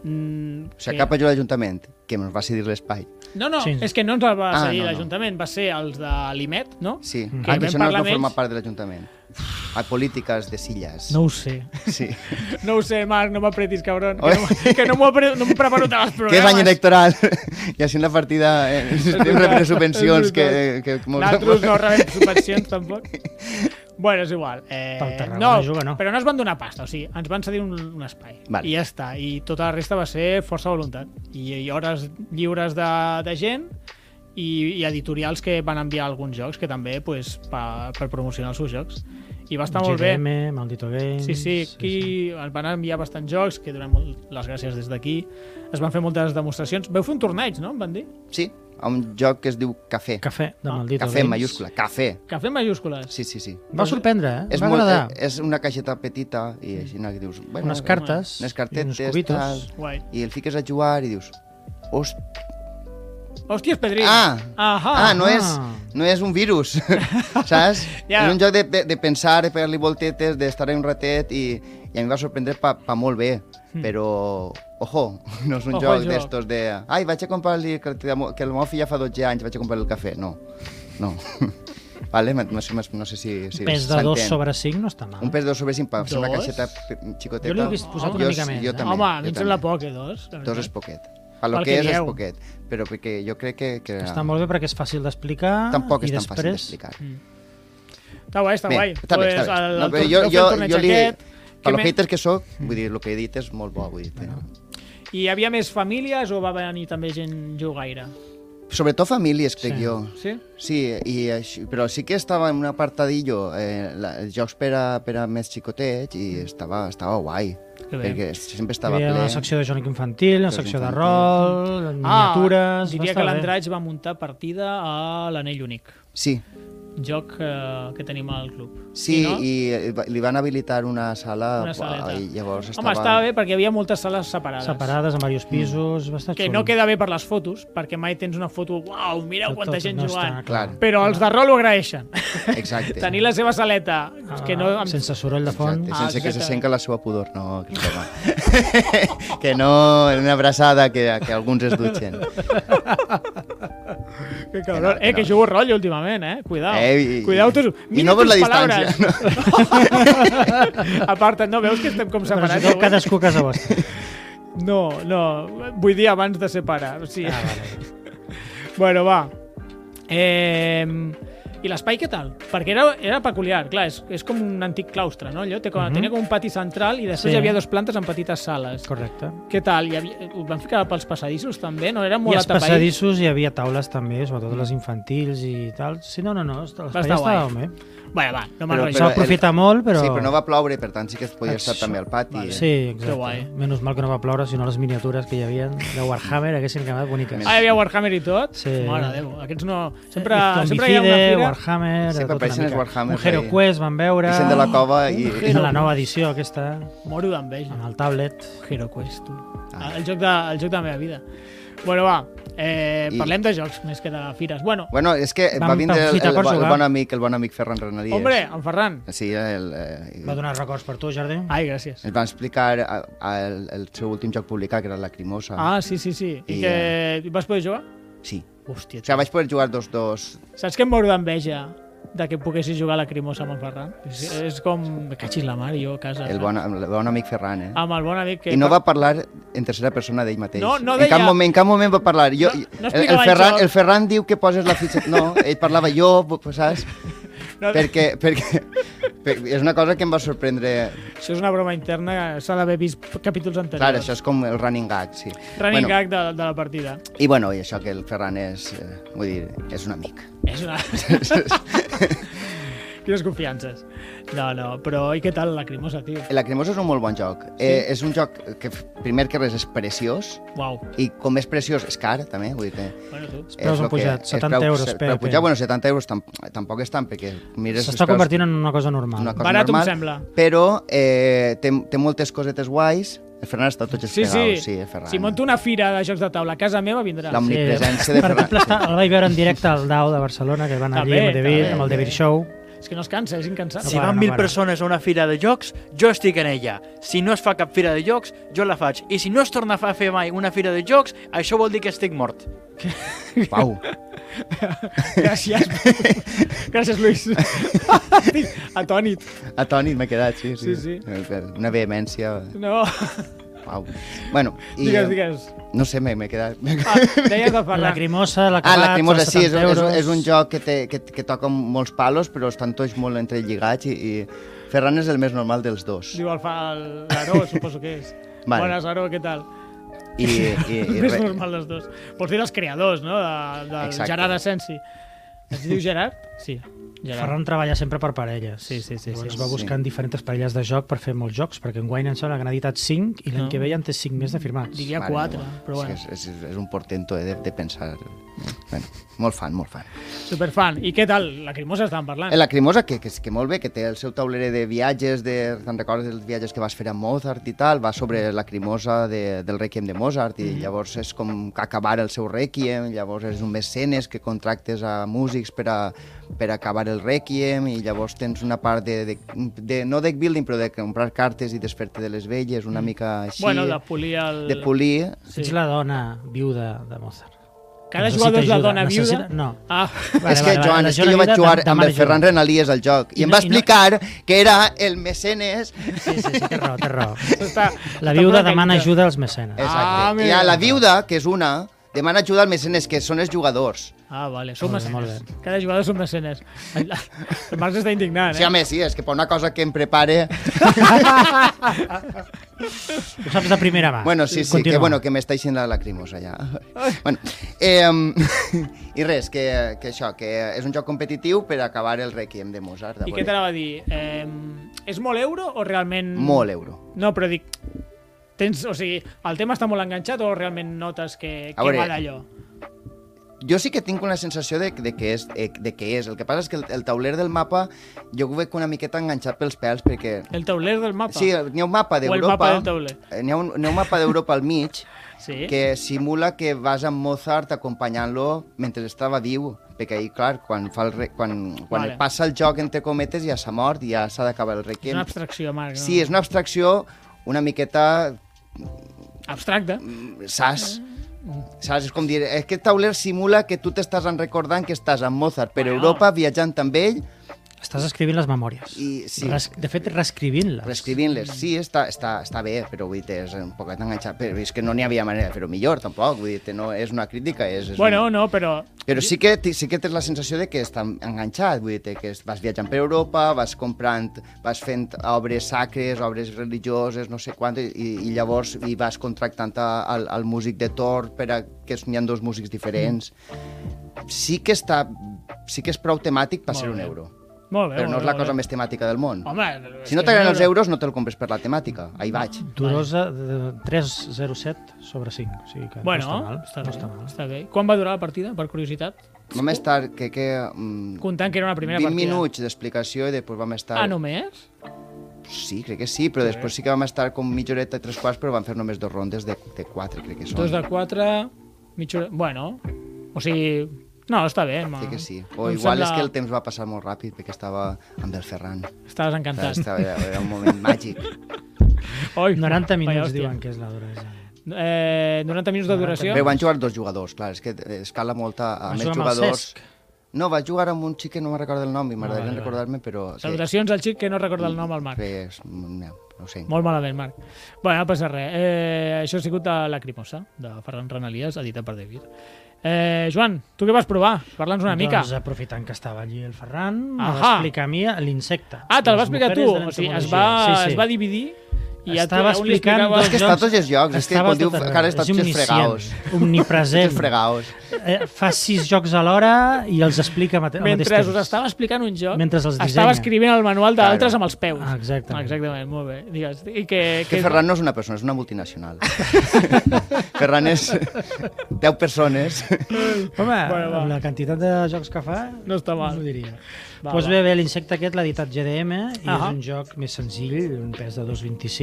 [SPEAKER 1] Mm,
[SPEAKER 2] O sigui,
[SPEAKER 1] que-
[SPEAKER 2] cap ajuda a l'Ajuntament, que ens va cedir l'espai.
[SPEAKER 1] No, no, sí.
[SPEAKER 3] Sí.
[SPEAKER 1] és que no ens el va
[SPEAKER 2] Ah,
[SPEAKER 1] cedir
[SPEAKER 2] no, no.
[SPEAKER 1] l'Ajuntament, va ser els de l'IMET, no?
[SPEAKER 3] Mm.
[SPEAKER 2] Sí,
[SPEAKER 1] Que
[SPEAKER 2] ah,
[SPEAKER 1] vam
[SPEAKER 2] que això no,
[SPEAKER 1] parlar
[SPEAKER 2] no
[SPEAKER 1] amb
[SPEAKER 2] forma
[SPEAKER 1] ells.
[SPEAKER 2] part de l'Ajuntament. A polítiques de silles.
[SPEAKER 1] No ho sé.
[SPEAKER 2] Sí.
[SPEAKER 1] No ho sé, Marc, no m'apretis, cabron. Que
[SPEAKER 2] Oi.
[SPEAKER 1] no, que no m'ho apre- no m'ho preparo tant els
[SPEAKER 2] Que és
[SPEAKER 1] programes.
[SPEAKER 2] any electoral i així en la partida eh, estem rebent subvencions que... que, que molt-
[SPEAKER 1] Nosaltres no rebem subvencions, tampoc. Bueno, és igual. Eh,
[SPEAKER 3] Pel Tarragona
[SPEAKER 1] no,
[SPEAKER 3] juga, no.
[SPEAKER 1] Però no ens van donar pasta, o sigui, ens van cedir un, un espai.
[SPEAKER 2] Vale.
[SPEAKER 1] I ja està. I tota la resta va ser força voluntat. I, i hores lliures de, de gent i, i editorials que van enviar alguns jocs que també pues, pa, per promocionar els seus jocs. I va estar molt bé.
[SPEAKER 3] GDM, Maldito Games...
[SPEAKER 1] Sí, sí, aquí ens van enviar bastants jocs, que donem molt les gràcies des d'aquí. Es van fer moltes demostracions. Veu fer un torneig, no? Em van dir.
[SPEAKER 2] Sí, a un joc que es diu Cafè.
[SPEAKER 3] Cafè, doncs. de
[SPEAKER 1] Ah,
[SPEAKER 3] Maldito
[SPEAKER 2] Cafè
[SPEAKER 3] Games.
[SPEAKER 2] en mayúscula, Cafè.
[SPEAKER 1] Cafè en majúscules.
[SPEAKER 2] Sí, sí, sí.
[SPEAKER 3] Va sorprendre, eh?
[SPEAKER 2] És,
[SPEAKER 3] va
[SPEAKER 2] molt,
[SPEAKER 3] agradar.
[SPEAKER 2] eh, és una caixeta petita i així no, que dius... Bueno, eh,
[SPEAKER 3] unes cartes,
[SPEAKER 2] Unes
[SPEAKER 3] i uns
[SPEAKER 2] cartetes,
[SPEAKER 3] cubitos.
[SPEAKER 2] tal,
[SPEAKER 1] Guai.
[SPEAKER 2] i el fiques a jugar i dius... Host...
[SPEAKER 1] Hòsties, Pedrín.
[SPEAKER 2] Ah!
[SPEAKER 1] Ahà.
[SPEAKER 2] Ah, no és,
[SPEAKER 3] Ah.
[SPEAKER 2] no és un virus, saps?
[SPEAKER 1] Ja.
[SPEAKER 2] És un joc de, de, de pensar, de pegar-li voltetes, d'estar un ratet i, i a mi em va sorprendre pa, pa molt bé. Però, ojo, no és un
[SPEAKER 1] Ojo al
[SPEAKER 2] joc
[SPEAKER 1] joc.
[SPEAKER 2] d'estos de... Ai, vaig a comprar-li... Que la mo- que la meva filla fa 12 anys, vaig a comprar el cafè. No, no. vale, no, sé, no sé si... si
[SPEAKER 3] Pes de
[SPEAKER 2] s'entén.
[SPEAKER 3] 2 sobre 5 no està mal.
[SPEAKER 2] Un pes de 2 sobre 5 per ser una
[SPEAKER 1] Dos?
[SPEAKER 2] caixeta pe- xicoteta.
[SPEAKER 3] Jo li hauria posat
[SPEAKER 1] una
[SPEAKER 2] Jo
[SPEAKER 3] mica
[SPEAKER 2] sí,
[SPEAKER 3] més,
[SPEAKER 2] Jo
[SPEAKER 3] eh?
[SPEAKER 2] també.
[SPEAKER 1] Home, a
[SPEAKER 2] jo
[SPEAKER 1] mi em sembla
[SPEAKER 2] també.
[SPEAKER 1] poc, eh, dos. la
[SPEAKER 2] Dos és
[SPEAKER 1] veritat.
[SPEAKER 2] poquet. Per lo
[SPEAKER 1] Pel
[SPEAKER 2] que
[SPEAKER 1] que
[SPEAKER 2] és, és
[SPEAKER 1] dieu.
[SPEAKER 2] poquet. Però perquè jo crec que... que
[SPEAKER 3] Està molt bé perquè és fàcil d'explicar
[SPEAKER 2] Tampoc
[SPEAKER 3] i
[SPEAKER 2] és tan
[SPEAKER 3] després...
[SPEAKER 2] fàcil d'explicar.
[SPEAKER 1] Mm. Està guai, Ah, està
[SPEAKER 2] Bé,
[SPEAKER 1] guai.
[SPEAKER 2] està bé, està
[SPEAKER 1] Pues
[SPEAKER 2] bé.
[SPEAKER 1] El,
[SPEAKER 2] No,
[SPEAKER 1] el,
[SPEAKER 2] però
[SPEAKER 1] tor-
[SPEAKER 2] jo-
[SPEAKER 1] vau fer
[SPEAKER 2] jo-
[SPEAKER 1] el torneig
[SPEAKER 2] jo li-
[SPEAKER 1] aquest,
[SPEAKER 2] Per
[SPEAKER 1] que
[SPEAKER 2] lo
[SPEAKER 1] me-
[SPEAKER 2] haters que sóc, vull dir, el que he dit és molt bo, vull dir. té-
[SPEAKER 1] I hi havia més famílies o va venir també gent jugaire?
[SPEAKER 2] Sobretot famílies, crec
[SPEAKER 3] Sí.
[SPEAKER 2] jo.
[SPEAKER 1] Sí?
[SPEAKER 2] Sí, i així, però sí que estava en un apartadillo, eh, la, els jocs per a, per a més xicotets, i estava, estava guai,
[SPEAKER 1] Mm. Que bé.
[SPEAKER 2] perquè sempre
[SPEAKER 3] Hi
[SPEAKER 2] estava
[SPEAKER 3] havia
[SPEAKER 2] ple.
[SPEAKER 3] una secció de jònic infantil, una
[SPEAKER 2] Jocs
[SPEAKER 3] secció de
[SPEAKER 2] infantils.
[SPEAKER 3] rol, miniatures... va
[SPEAKER 1] Ah, diria
[SPEAKER 3] estar
[SPEAKER 1] que
[SPEAKER 3] bé.
[SPEAKER 1] l'Andraig va muntar partida a l'Anell Únic,
[SPEAKER 2] Sí,
[SPEAKER 1] joc eh, que tenim al club.
[SPEAKER 2] sí,
[SPEAKER 1] no?
[SPEAKER 2] i, eh, va- li van habilitar una sala,
[SPEAKER 1] Una saleta.
[SPEAKER 2] i llavors estava...
[SPEAKER 1] Home, estava bé perquè hi havia moltes sales separades.
[SPEAKER 3] Separades, en diversos
[SPEAKER 2] Mm.
[SPEAKER 3] pisos, va estar
[SPEAKER 1] Que
[SPEAKER 3] xulo.
[SPEAKER 1] no queda bé per les fotos, perquè mai tens una foto, uau, mira
[SPEAKER 3] Tot-
[SPEAKER 1] quanta
[SPEAKER 3] tot
[SPEAKER 1] gent
[SPEAKER 3] no
[SPEAKER 1] jugant.
[SPEAKER 3] està clar.
[SPEAKER 1] Però els de rol ho agraeixen.
[SPEAKER 2] Exacte.
[SPEAKER 1] Tenir la seva saleta, que no...
[SPEAKER 3] Ah, Sense soroll de font.
[SPEAKER 2] Exacte,
[SPEAKER 1] Ah,
[SPEAKER 2] sense que se
[SPEAKER 1] exacte.
[SPEAKER 2] senca la seva pudor, no, que, no. que no, en una abraçada que, que alguns es dutxen.
[SPEAKER 1] Que cabrón.
[SPEAKER 2] Que no,
[SPEAKER 1] Eh, que
[SPEAKER 2] que no.
[SPEAKER 1] jugo rotllo últimament, eh? Cuidao.
[SPEAKER 2] Eh, i-
[SPEAKER 1] Cuidao tus...
[SPEAKER 2] i
[SPEAKER 1] Mira
[SPEAKER 2] no veus
[SPEAKER 1] tus
[SPEAKER 2] la
[SPEAKER 1] palabres. No. Aparta't, no, veus que estem com
[SPEAKER 3] Però
[SPEAKER 1] separats?
[SPEAKER 3] jugueu cadascú a casa vostra.
[SPEAKER 1] No, no, vull dir abans de ser pare. O sigui. Bueno, va. Eh, I l'espai què tal? Perquè era, era peculiar, clar, és, és com un antic claustre, no? Allò té com,
[SPEAKER 3] Mhm.
[SPEAKER 1] tenia com un pati central i després
[SPEAKER 3] Sí.
[SPEAKER 1] hi havia dues plantes en petites sales.
[SPEAKER 3] Correcte.
[SPEAKER 1] Què tal? Hi havia, ho van ficar pels passadissos també? No era
[SPEAKER 3] I
[SPEAKER 1] molt
[SPEAKER 3] als
[SPEAKER 1] atapeït?
[SPEAKER 3] passadissos hi havia taules també, sobretot les infantils i tal. Sí, no, no, no, l'espai
[SPEAKER 1] estar
[SPEAKER 3] estava
[SPEAKER 1] guai.
[SPEAKER 3] bé.
[SPEAKER 1] Vaja, va, no
[SPEAKER 2] Però-
[SPEAKER 1] m'enrotllo.
[SPEAKER 3] S'ha aprofitat molt, però...
[SPEAKER 2] Sí, però no va ploure, per tant sí que es podia estar
[SPEAKER 3] Això-
[SPEAKER 2] també al pati. eh.
[SPEAKER 1] Vale.
[SPEAKER 3] Sí, exacte.
[SPEAKER 1] Que guai.
[SPEAKER 3] Menys mal que no va ploure, si no les miniatures que hi havia de Warhammer haguessin quedat boniques.
[SPEAKER 1] Ah, hi havia Warhammer i tot?
[SPEAKER 3] Sí.
[SPEAKER 1] Mare de Déu, aquests no... Sempre,
[SPEAKER 3] Zombicide,
[SPEAKER 1] sempre hi ha una fira...
[SPEAKER 3] Warhammer... de
[SPEAKER 2] Sempre
[SPEAKER 3] tot una
[SPEAKER 2] apareixen els
[SPEAKER 3] mica.
[SPEAKER 2] Warhammers
[SPEAKER 3] Un Hero
[SPEAKER 2] ahí.
[SPEAKER 3] Quest vam veure...
[SPEAKER 2] eh, Vicent de la Cova i...
[SPEAKER 1] Un
[SPEAKER 3] És
[SPEAKER 1] giro.
[SPEAKER 2] i
[SPEAKER 3] la nova edició aquesta,
[SPEAKER 1] Moro d'enveja.
[SPEAKER 3] amb el tablet.
[SPEAKER 1] HeroQuest, tu.
[SPEAKER 2] Ah.
[SPEAKER 1] El, joc de, el joc de la meva vida. Bueno, va, eh,
[SPEAKER 2] I-
[SPEAKER 1] parlem de jocs més que de fires. Bueno,
[SPEAKER 2] Bueno, és que
[SPEAKER 3] Vam
[SPEAKER 2] va vindre el,
[SPEAKER 3] aprofitar
[SPEAKER 2] el,
[SPEAKER 3] per
[SPEAKER 2] bo- el
[SPEAKER 3] jugar.
[SPEAKER 2] bon amic, el bon amic Ferran Renadies.
[SPEAKER 1] hombre, en Ferran.
[SPEAKER 2] Sí, el, eh,
[SPEAKER 3] Va donar records per tu, Jordi?
[SPEAKER 2] Ah,
[SPEAKER 1] Ai, gràcies.
[SPEAKER 2] ens va explicar a- a- el, el seu últim joc publicat, que era Lacrimosa.
[SPEAKER 1] Ah, sí, sí, sí. I,
[SPEAKER 2] I, eh,
[SPEAKER 1] que vas poder jugar?
[SPEAKER 2] Sí.
[SPEAKER 1] Hòstia, tio.
[SPEAKER 2] O sigui, vaig poder jugar dos, dos...
[SPEAKER 1] Saps que em moro d'enveja de que poguessis jugar a la Crimosa amb en Ferran? És, és com... Me cachis la mar, jo a casa.
[SPEAKER 2] El bon, el bon amic Ferran, eh?
[SPEAKER 1] Amb el bon amic que...
[SPEAKER 2] I no va parlar en tercera persona d'ell mateix.
[SPEAKER 1] No, no
[SPEAKER 2] en, cap
[SPEAKER 1] deia-
[SPEAKER 2] moment, en cap moment va parlar. Jo,
[SPEAKER 1] No- no
[SPEAKER 2] el,
[SPEAKER 1] explicava
[SPEAKER 2] el,
[SPEAKER 1] el
[SPEAKER 2] Ferran,
[SPEAKER 1] joc.
[SPEAKER 2] el Ferran diu que poses la fitxa... No, ell parlava jo, pues, saps?
[SPEAKER 1] No,
[SPEAKER 2] perquè, perquè, perquè és una cosa que em va sorprendre.
[SPEAKER 1] Això és una broma interna, s'ha d'haver vist capítols anteriors.
[SPEAKER 2] Clar, això és com el running gag, sí.
[SPEAKER 1] Running gag
[SPEAKER 2] bueno,
[SPEAKER 1] de, de la partida.
[SPEAKER 2] I bueno, i això que el Ferran és, eh, vull dir, és un amic.
[SPEAKER 1] És una... Quines confiances. No, no, però i què tal la Crimosa, tio?
[SPEAKER 2] El Lacrimosa és un molt bon joc. Sí. Eh, és un joc que, f- primer que res, és preciós,
[SPEAKER 1] Uau,
[SPEAKER 2] i com és preciós, és car, també, vull dir que...
[SPEAKER 1] bueno, tu.
[SPEAKER 3] preus
[SPEAKER 2] és
[SPEAKER 3] han
[SPEAKER 2] lo que-
[SPEAKER 3] pujat,
[SPEAKER 2] els
[SPEAKER 3] 70
[SPEAKER 2] preus-
[SPEAKER 3] euros
[SPEAKER 2] els
[SPEAKER 3] per-
[SPEAKER 2] preus
[SPEAKER 3] per-
[SPEAKER 2] pujat, bueno, 70 euros tam tampoc és tant, perquè mires... els
[SPEAKER 3] S'està
[SPEAKER 2] preus-
[SPEAKER 3] convertint en una cosa normal.
[SPEAKER 2] una cosa
[SPEAKER 1] Barat, em
[SPEAKER 2] normal,
[SPEAKER 1] sembla.
[SPEAKER 2] Però eh, té, té moltes cosetes guais. El Ferran està tot
[SPEAKER 1] Sí,
[SPEAKER 2] gespegat,
[SPEAKER 1] sí.
[SPEAKER 2] sí, el Ferran.
[SPEAKER 1] Si monto una fira de jocs de taula a casa meva, vindrà.
[SPEAKER 2] La- omnipresència de
[SPEAKER 3] per
[SPEAKER 2] Ferran.
[SPEAKER 3] exemple, està, el vaig veure en directe al DAO de Barcelona, que van allí
[SPEAKER 1] També,
[SPEAKER 3] amb, David,
[SPEAKER 1] també,
[SPEAKER 3] amb el
[SPEAKER 1] també.
[SPEAKER 3] David Show.
[SPEAKER 1] És que no es cansa, és incansable.
[SPEAKER 4] Si
[SPEAKER 3] para,
[SPEAKER 4] van
[SPEAKER 3] no
[SPEAKER 4] mil
[SPEAKER 3] para.
[SPEAKER 4] persones a una fira de jocs, jo estic en ella. Si no es fa cap fira de jocs, jo la faig. I si no es torna a fa- fer mai una fira de jocs, això vol dir que estic mort.
[SPEAKER 2] Pau,
[SPEAKER 1] Gràcies. Gràcies, Lluís. Estic Atònit.
[SPEAKER 2] atònit m'he quedat, sí, sí. Eh,
[SPEAKER 1] Sí, sí.
[SPEAKER 2] Una vehemència,
[SPEAKER 1] No,
[SPEAKER 2] pau. Bueno, i... eh,
[SPEAKER 1] digues, digues.
[SPEAKER 2] No sé, m'he m'he quedat...
[SPEAKER 1] Ah, deies de
[SPEAKER 3] La
[SPEAKER 1] Ferran.
[SPEAKER 3] Lacrimosa,
[SPEAKER 2] Ah,
[SPEAKER 3] l'acabat,
[SPEAKER 2] la Crimosa,
[SPEAKER 3] els
[SPEAKER 2] sí, és,
[SPEAKER 3] 70
[SPEAKER 2] un- és, un-
[SPEAKER 3] euros.
[SPEAKER 2] és un joc que, té, que, que toca molts palos, però estan tots molt entrelligats i, i Ferran és el més normal dels dos.
[SPEAKER 1] Diu el fa el- l'Aró, suposo que és.
[SPEAKER 2] Vale.
[SPEAKER 1] Bones, Aró, què tal?
[SPEAKER 2] I, i, i
[SPEAKER 1] Més
[SPEAKER 2] re-
[SPEAKER 1] normal dels dos. Vols dir dels creadors, no? De, del
[SPEAKER 2] Exacte.
[SPEAKER 1] Gerard Asensi. Es diu Gerard? Sí. Gerard.
[SPEAKER 3] Ferran treballa sempre per parelles.
[SPEAKER 1] Sí, sí, sí,
[SPEAKER 3] Llavors
[SPEAKER 1] sí.
[SPEAKER 3] va buscant diferents parelles de joc per fer molts jocs, perquè enguany en sembla que n'ha editat 5 i l'any
[SPEAKER 1] Ah.
[SPEAKER 3] que ve ja en té 5 més de firmats.
[SPEAKER 1] Diria
[SPEAKER 2] Mare
[SPEAKER 1] quatre,
[SPEAKER 2] meva.
[SPEAKER 1] però bueno.
[SPEAKER 2] És, que és, és, és un portento eh, de, de pensar. Bueno, molt fan, molt fan.
[SPEAKER 1] Superfan. I què tal? La Crimosa estàvem
[SPEAKER 3] Ah.
[SPEAKER 1] parlant.
[SPEAKER 2] El Eh, Lacrimosa, que, que, és- que molt bé, que té el seu tauler de viatges, de, te'n recordes dels viatges que vas fer a Mozart i tal, va sobre Lacrimosa de, del Requiem de Mozart i
[SPEAKER 3] Mm-hmm.
[SPEAKER 2] llavors és com acabar el seu Requiem, llavors és un mecenes que contractes a músics per a, per a acabar el Requiem i llavors tens una part de, de, de no deck building, però de comprar cartes i desfer-te de les velles,
[SPEAKER 3] Mm.
[SPEAKER 2] una mica així,
[SPEAKER 1] Bueno, de polir el...
[SPEAKER 2] de polir.
[SPEAKER 1] Sí.
[SPEAKER 3] Ets la dona viuda de Mozart.
[SPEAKER 1] Cada
[SPEAKER 3] Necessita
[SPEAKER 1] jugador és la
[SPEAKER 3] ajuda,
[SPEAKER 1] dona viuda?
[SPEAKER 3] necessita- no.
[SPEAKER 1] Ah,
[SPEAKER 2] és que,
[SPEAKER 3] vale,
[SPEAKER 2] Joan,
[SPEAKER 3] la
[SPEAKER 2] és que
[SPEAKER 3] Joana
[SPEAKER 2] jo vaig
[SPEAKER 3] Vida
[SPEAKER 2] jugar
[SPEAKER 3] de- de
[SPEAKER 2] amb el
[SPEAKER 3] mare
[SPEAKER 2] Ferran
[SPEAKER 3] jove.
[SPEAKER 2] Renalies al joc i,
[SPEAKER 3] I
[SPEAKER 2] em
[SPEAKER 3] no-
[SPEAKER 2] va
[SPEAKER 3] i no-
[SPEAKER 2] explicar que era el mecenes
[SPEAKER 3] Sí, sí, sí, té raó, té raó.
[SPEAKER 1] està,
[SPEAKER 3] La
[SPEAKER 1] està
[SPEAKER 3] viuda
[SPEAKER 1] placaïta.
[SPEAKER 3] demana ajuda als mecenes.
[SPEAKER 2] Exacte.
[SPEAKER 1] Ah,
[SPEAKER 2] Ah, I
[SPEAKER 1] mira.
[SPEAKER 2] a la viuda, que és una, demana ajuda al mecenes, que són els jugadors.
[SPEAKER 1] Ah, vale, som
[SPEAKER 3] Molt bé,
[SPEAKER 1] mecenes.
[SPEAKER 3] molt
[SPEAKER 1] Cada jugada som mecenes. El, el Marc està indignant, eh?
[SPEAKER 2] Sí, home, sí, és que per una cosa que em prepare...
[SPEAKER 3] Ho saps de primera
[SPEAKER 1] Ah,
[SPEAKER 3] mà.
[SPEAKER 2] Bueno, sí, sí,
[SPEAKER 3] Continua.
[SPEAKER 2] que, bueno, que m'està eixint la lacrimosa ja. Bueno, eh, I res, que, que això, que és un joc competitiu per acabar el Requiem de Mozart.
[SPEAKER 1] I
[SPEAKER 2] de
[SPEAKER 1] què
[SPEAKER 2] Wagner.
[SPEAKER 1] t'anava a dir? Eh, és molt euro o realment...
[SPEAKER 2] Molt euro.
[SPEAKER 1] No, però dic... Tens, o sigui, el tema està molt enganxat o realment notes que,
[SPEAKER 2] A
[SPEAKER 1] que
[SPEAKER 2] veure,
[SPEAKER 1] va d'allò?
[SPEAKER 2] Jo sí que tinc una sensació de, de, que, és, eh, de que és. El que passa és que el, el tauler del mapa jo ho veig una miqueta enganxat pels pèls perquè...
[SPEAKER 1] El tauler del mapa?
[SPEAKER 2] Sí, n'hi ha un
[SPEAKER 1] O
[SPEAKER 2] mapa
[SPEAKER 1] el
[SPEAKER 2] d'Europa...
[SPEAKER 1] mapa del tauler.
[SPEAKER 2] eh, N'hi ha, un, n'hi ha un mapa d'Europa al mig
[SPEAKER 1] sí?
[SPEAKER 2] que simula que vas amb Mozart acompanyant-lo mentre estava viu, perquè ahir, clar, quan, fa el re... quan, quan
[SPEAKER 1] Vale.
[SPEAKER 2] vale. passa el joc, entre cometes, ja s'ha mort, ja s'ha d'acabar el
[SPEAKER 1] És
[SPEAKER 2] requiem.
[SPEAKER 1] una abstracció, Marc. No?
[SPEAKER 2] Sí, és una abstracció una miqueta
[SPEAKER 1] Abstracte.
[SPEAKER 2] mm, sas. Saps? És com dir, és que tauler simula que tu t'estàs en recordant que estàs amb Mozart per
[SPEAKER 1] Bueno.
[SPEAKER 2] Europa viatjant amb ell
[SPEAKER 3] Estàs escrivint les memòries.
[SPEAKER 2] i sí,
[SPEAKER 3] Res, de fet, reescrivint-les.
[SPEAKER 2] reescrivint-les. Sí, està, està, està bé, però vull dir, és un poquet enganxat. Però és que no n'hi havia manera de fer-ho millor, tampoc. Vull dir, no, és una crítica. És, és
[SPEAKER 1] Bueno,
[SPEAKER 2] un...
[SPEAKER 1] no, però...
[SPEAKER 2] Però sí que, sí que tens la sensació de que està enganxat, vull dir que vas viatjant per Europa, vas comprant, vas fent obres sacres, obres religioses, no sé quant, i, i llavors i vas contractant a, al, al músic de Tor per a, que n'hi ha dos músics diferents. Sí que està sí que és prou temàtic per
[SPEAKER 1] Molt
[SPEAKER 2] ser un
[SPEAKER 1] bé.
[SPEAKER 2] euro,
[SPEAKER 1] Molt bé,
[SPEAKER 2] però no
[SPEAKER 1] molt
[SPEAKER 2] és
[SPEAKER 1] bé,
[SPEAKER 2] la
[SPEAKER 1] molt
[SPEAKER 2] cosa
[SPEAKER 1] bé.
[SPEAKER 2] més temàtica del món.
[SPEAKER 1] Home, eh, és
[SPEAKER 2] Si no
[SPEAKER 1] que
[SPEAKER 2] t'agraden
[SPEAKER 1] és
[SPEAKER 2] els euros, no te'l compres per la temàtica. Ahí vaig.
[SPEAKER 3] Durosa, de- 3,07 sobre 5. O sigui que
[SPEAKER 1] Bueno,
[SPEAKER 3] no
[SPEAKER 1] està,
[SPEAKER 3] està mal. no
[SPEAKER 1] bé,
[SPEAKER 3] està mal.
[SPEAKER 1] està bé. Quan va durar la partida, per curiositat?
[SPEAKER 2] Vam estar, que, que, mm,
[SPEAKER 1] Comptant que era una primera
[SPEAKER 2] 20
[SPEAKER 1] partida.
[SPEAKER 2] minuts d'explicació i després vam estar...
[SPEAKER 1] Ah, només?
[SPEAKER 2] Sí, crec que sí, però després sí que vam estar com mitja horeta i tres quarts, però vam fer només dos rondes de, de quatre, crec que són.
[SPEAKER 1] Dos de quatre, mitja hora... Bueno, o sigui... No, està bé, home.
[SPEAKER 2] Crec que sí.
[SPEAKER 1] Em
[SPEAKER 2] O igual
[SPEAKER 1] sembla-
[SPEAKER 2] és que el temps va passar molt ràpid perquè estava amb el Ferran.
[SPEAKER 1] Estaves encantat.
[SPEAKER 2] Estava, era, era un moment màgic.
[SPEAKER 1] Oi,
[SPEAKER 3] 90
[SPEAKER 1] vaya
[SPEAKER 3] minuts
[SPEAKER 1] hòstia.
[SPEAKER 3] diuen que és la duresa.
[SPEAKER 1] Eh, 90 minuts de duració?
[SPEAKER 2] Però van jugar dos jugadors, clar, és que eh, escala molt a, a
[SPEAKER 3] Vas
[SPEAKER 2] més
[SPEAKER 3] jugar amb el
[SPEAKER 2] jugadors.
[SPEAKER 3] Cesc?
[SPEAKER 2] No, va jugar amb un xic que no me'n recordo el nom i m'agradaria
[SPEAKER 3] vale, vale.
[SPEAKER 2] recordar-me, però... Que,
[SPEAKER 1] Salutacions al xic que no recorda el nom al Marc.
[SPEAKER 2] que és, no, no ho sé.
[SPEAKER 1] Molt malament, Marc. Bé, no passa res. Eh, això ha sigut a La Crimosa, de Ferran Renalies, editat per David. Eh, Joan, tu què vas provar? Parla'ns una mica.
[SPEAKER 3] Doncs aprofitant que estava allí el Ferran, me va
[SPEAKER 1] Ahà.
[SPEAKER 3] explicar a mi l'insecte.
[SPEAKER 1] Ah, te'l
[SPEAKER 3] Les
[SPEAKER 1] vas explicar tu.
[SPEAKER 3] doncs, mujeres de
[SPEAKER 1] O sigui, es
[SPEAKER 3] l'entomologia.
[SPEAKER 1] va,
[SPEAKER 3] sí, sí.
[SPEAKER 1] es va dividir i
[SPEAKER 3] Estava
[SPEAKER 1] ja tu, ja un li
[SPEAKER 3] explicant
[SPEAKER 1] explicaves-
[SPEAKER 2] És que està a tots els jocs, és que
[SPEAKER 3] Estava
[SPEAKER 2] quan diu
[SPEAKER 3] tot arreu.
[SPEAKER 2] cara està
[SPEAKER 3] És
[SPEAKER 2] tots els
[SPEAKER 3] omniscient,
[SPEAKER 2] fregaos. Tots els
[SPEAKER 3] Omnipresent.
[SPEAKER 2] fregaos.
[SPEAKER 3] Eh, fa sis jocs alhora i els explica mate- al mateix
[SPEAKER 1] Mentre us
[SPEAKER 3] temps.
[SPEAKER 1] estava explicant un joc,
[SPEAKER 3] Mentre els
[SPEAKER 1] estava
[SPEAKER 3] dissenya.
[SPEAKER 1] escrivint el manual d'altres
[SPEAKER 2] Claro.
[SPEAKER 1] amb els peus.
[SPEAKER 3] Ah, exactament.
[SPEAKER 1] Exactament, molt bé. Digues, i que,
[SPEAKER 2] Que Ferran no és una persona, és una multinacional. Ferran és 10 persones.
[SPEAKER 3] Home,
[SPEAKER 1] Bueno, va.
[SPEAKER 3] amb la quantitat de jocs que fa,
[SPEAKER 1] No està mal.
[SPEAKER 3] No ho diria.
[SPEAKER 1] Va,
[SPEAKER 3] Doncs
[SPEAKER 1] va.
[SPEAKER 3] bé, bé, l'insecte aquest l'ha editat GDM i
[SPEAKER 1] Ahà.
[SPEAKER 3] és un joc més senzill, un pes de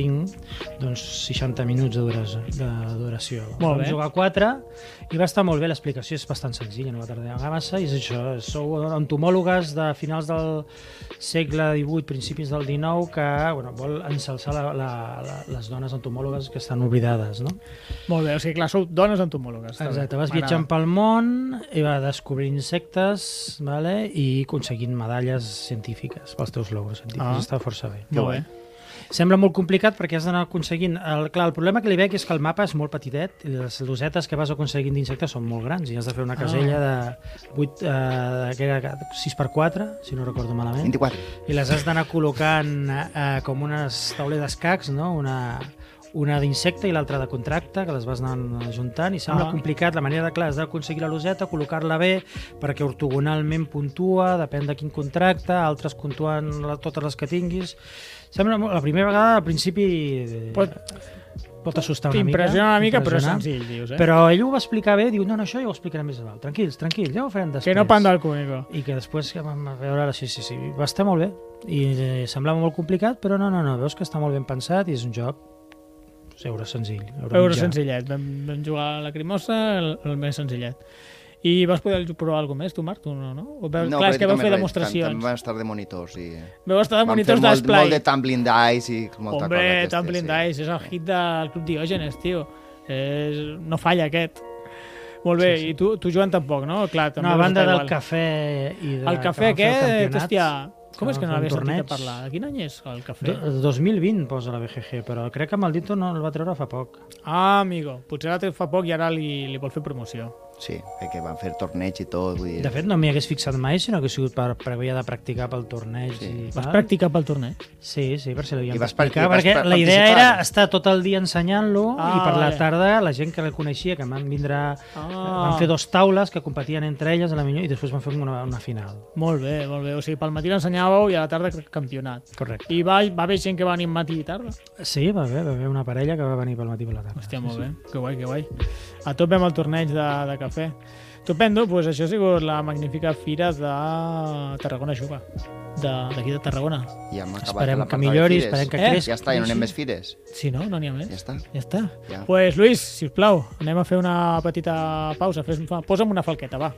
[SPEAKER 3] 2,25, doncs 60 minuts de, duració, de duració.
[SPEAKER 1] Molt
[SPEAKER 3] Vam
[SPEAKER 1] bé.
[SPEAKER 3] jugar 4 i va estar molt bé, l'explicació és bastant senzilla, no va tardar massa, i és això, sou entomòlogues de finals del segle XVIII, principis del XIX, que bueno, vol ensalçar la, la, la, les dones entomòlogues que estan oblidades, no?
[SPEAKER 1] Molt bé, o sigui, clar, sou dones entomòlogues. Està bé.
[SPEAKER 3] Exacte, vas
[SPEAKER 1] M'agrada.
[SPEAKER 3] viatjant pel món i va descobrir insectes vale? i aconseguint medalles científiques pels teus logos científics.
[SPEAKER 1] Ah.
[SPEAKER 3] Ah. Està força bé.
[SPEAKER 1] Molt bé.
[SPEAKER 3] Sembla molt complicat perquè has d'anar aconseguint... El, clar, el problema que li veig és que el mapa és molt petitet i les losetes que vas aconseguint d'insectes són molt grans i has de fer una
[SPEAKER 1] Ah.
[SPEAKER 3] casella de 8, eh, que era 6x4, si no recordo malament
[SPEAKER 2] 24.
[SPEAKER 3] i les has d'anar col·locant eh, com unes tauler d'escacs, no? una, una d'insecte i l'altra de contracte, que les vas anar juntant, i
[SPEAKER 1] Ah.
[SPEAKER 3] sembla ah. complicat la manera de, clar, has d'aconseguir la loseta, col·locar-la bé perquè ortogonalment puntua, depèn de quin contracte, altres puntuen la, totes les que tinguis. Sembla, molt- la primera vegada, al principi, eh,
[SPEAKER 1] Pot-
[SPEAKER 3] pot assustar una
[SPEAKER 1] T'impressiona una mica, però és
[SPEAKER 3] impressiona.
[SPEAKER 1] senzill, dius, eh?
[SPEAKER 3] Però ell ho va explicar bé, diu, no, no, això ja ho explicarem més endavant. Tranquils, tranquils, ja ho farem després
[SPEAKER 1] que no panda el cúnico.
[SPEAKER 3] i que després que vam veure la... sí, sí, sí, va estar molt bé i eh, semblava molt complicat però no, no, no, veus que està molt ben pensat i és un joc doncs, euro senzill euro,
[SPEAKER 1] Euro
[SPEAKER 3] mitjà.
[SPEAKER 1] senzillet. Vam, vam jugar a la Crimosa, el, el més senzillet. I vas poder provar alguna més, tu, Marc? Tu no, no? O veu, no, clar, és que vau fer
[SPEAKER 2] També
[SPEAKER 1] demostracions.
[SPEAKER 2] van estar de monitors i...
[SPEAKER 1] Vau estar de
[SPEAKER 2] Vam
[SPEAKER 1] monitors
[SPEAKER 2] fer molt,
[SPEAKER 1] d'esplai.
[SPEAKER 2] molt de tumbling dice i molta
[SPEAKER 1] Hombre,
[SPEAKER 2] cosa. d'aquestes,
[SPEAKER 1] Tumbling Dice, és el hit del Club Diògenes, tio. És... No falla aquest. Molt bé, i tu, tu Joan tampoc, no? Clar, també
[SPEAKER 3] no, a
[SPEAKER 1] vas
[SPEAKER 3] banda
[SPEAKER 1] estar
[SPEAKER 3] del
[SPEAKER 1] igual.
[SPEAKER 3] cafè i de,
[SPEAKER 1] El cafè
[SPEAKER 3] que van fer el
[SPEAKER 1] aquest,
[SPEAKER 3] campionat,
[SPEAKER 1] hòstia, com
[SPEAKER 3] que
[SPEAKER 1] és que no
[SPEAKER 3] van fer un
[SPEAKER 1] l'havia sentit a
[SPEAKER 3] torneig.
[SPEAKER 1] parlar? De quin any és el cafè?
[SPEAKER 3] Do- 2020 posa la BGG però crec que Maldito no el va treure fa poc
[SPEAKER 1] Ah, amigo, potser l'ha tret fa poc i ara li, li vol fer promoció.
[SPEAKER 2] Sí, perquè van fer torneig i tot, vull dir...
[SPEAKER 3] De fet, no m'hi hagués fixat mai, sinó que ha sigut per, per haver de practicar pel torneig.
[SPEAKER 2] Sí.
[SPEAKER 3] Sí. I
[SPEAKER 1] Vas
[SPEAKER 3] tal.
[SPEAKER 1] practicar pel torneig?
[SPEAKER 3] Sí, sí, per si l'havíem
[SPEAKER 2] I vas
[SPEAKER 3] d'explicar,
[SPEAKER 2] practi- vas
[SPEAKER 3] perquè
[SPEAKER 2] pra-
[SPEAKER 3] la idea era
[SPEAKER 2] participar.
[SPEAKER 3] estar tot el dia ensenyant-lo
[SPEAKER 1] Ah,
[SPEAKER 3] i per la
[SPEAKER 1] vale.
[SPEAKER 3] tarda la gent que el coneixia, que van vindre...
[SPEAKER 1] Ah.
[SPEAKER 3] Van fer dos taules que competien entre elles a la millor i després van fer una, una final.
[SPEAKER 1] Molt bé, molt bé. O sigui, pel matí l'ensenyàveu i a la tarda campionat.
[SPEAKER 3] Correcte.
[SPEAKER 1] I va, va haver gent que va venir matí i tarda?
[SPEAKER 3] Sí, va haver, va haver una parella que va venir pel matí i per la tarda.
[SPEAKER 1] Hòstia, molt bé. Que guai, que guai. A tope amb el torneig de, de cafè. Tupendo, doncs això ha sigut la magnífica fira de Tarragona Juga. De- D'aquí de, de Tarragona.
[SPEAKER 2] Ja hem acabat
[SPEAKER 3] Esperem
[SPEAKER 2] la
[SPEAKER 3] que
[SPEAKER 2] part de les
[SPEAKER 3] millori,
[SPEAKER 2] fires.
[SPEAKER 3] esperem que
[SPEAKER 1] Eh?
[SPEAKER 3] creixi.
[SPEAKER 2] Ja està, ja no anem més fires.
[SPEAKER 1] Sí, no? No n'hi ha més?
[SPEAKER 2] Ja està.
[SPEAKER 1] Ja està.
[SPEAKER 2] Ja.
[SPEAKER 1] Pues, Lluís, si us plau, anem a fer una petita pausa. Fes, fa- posa'm una falqueta, va.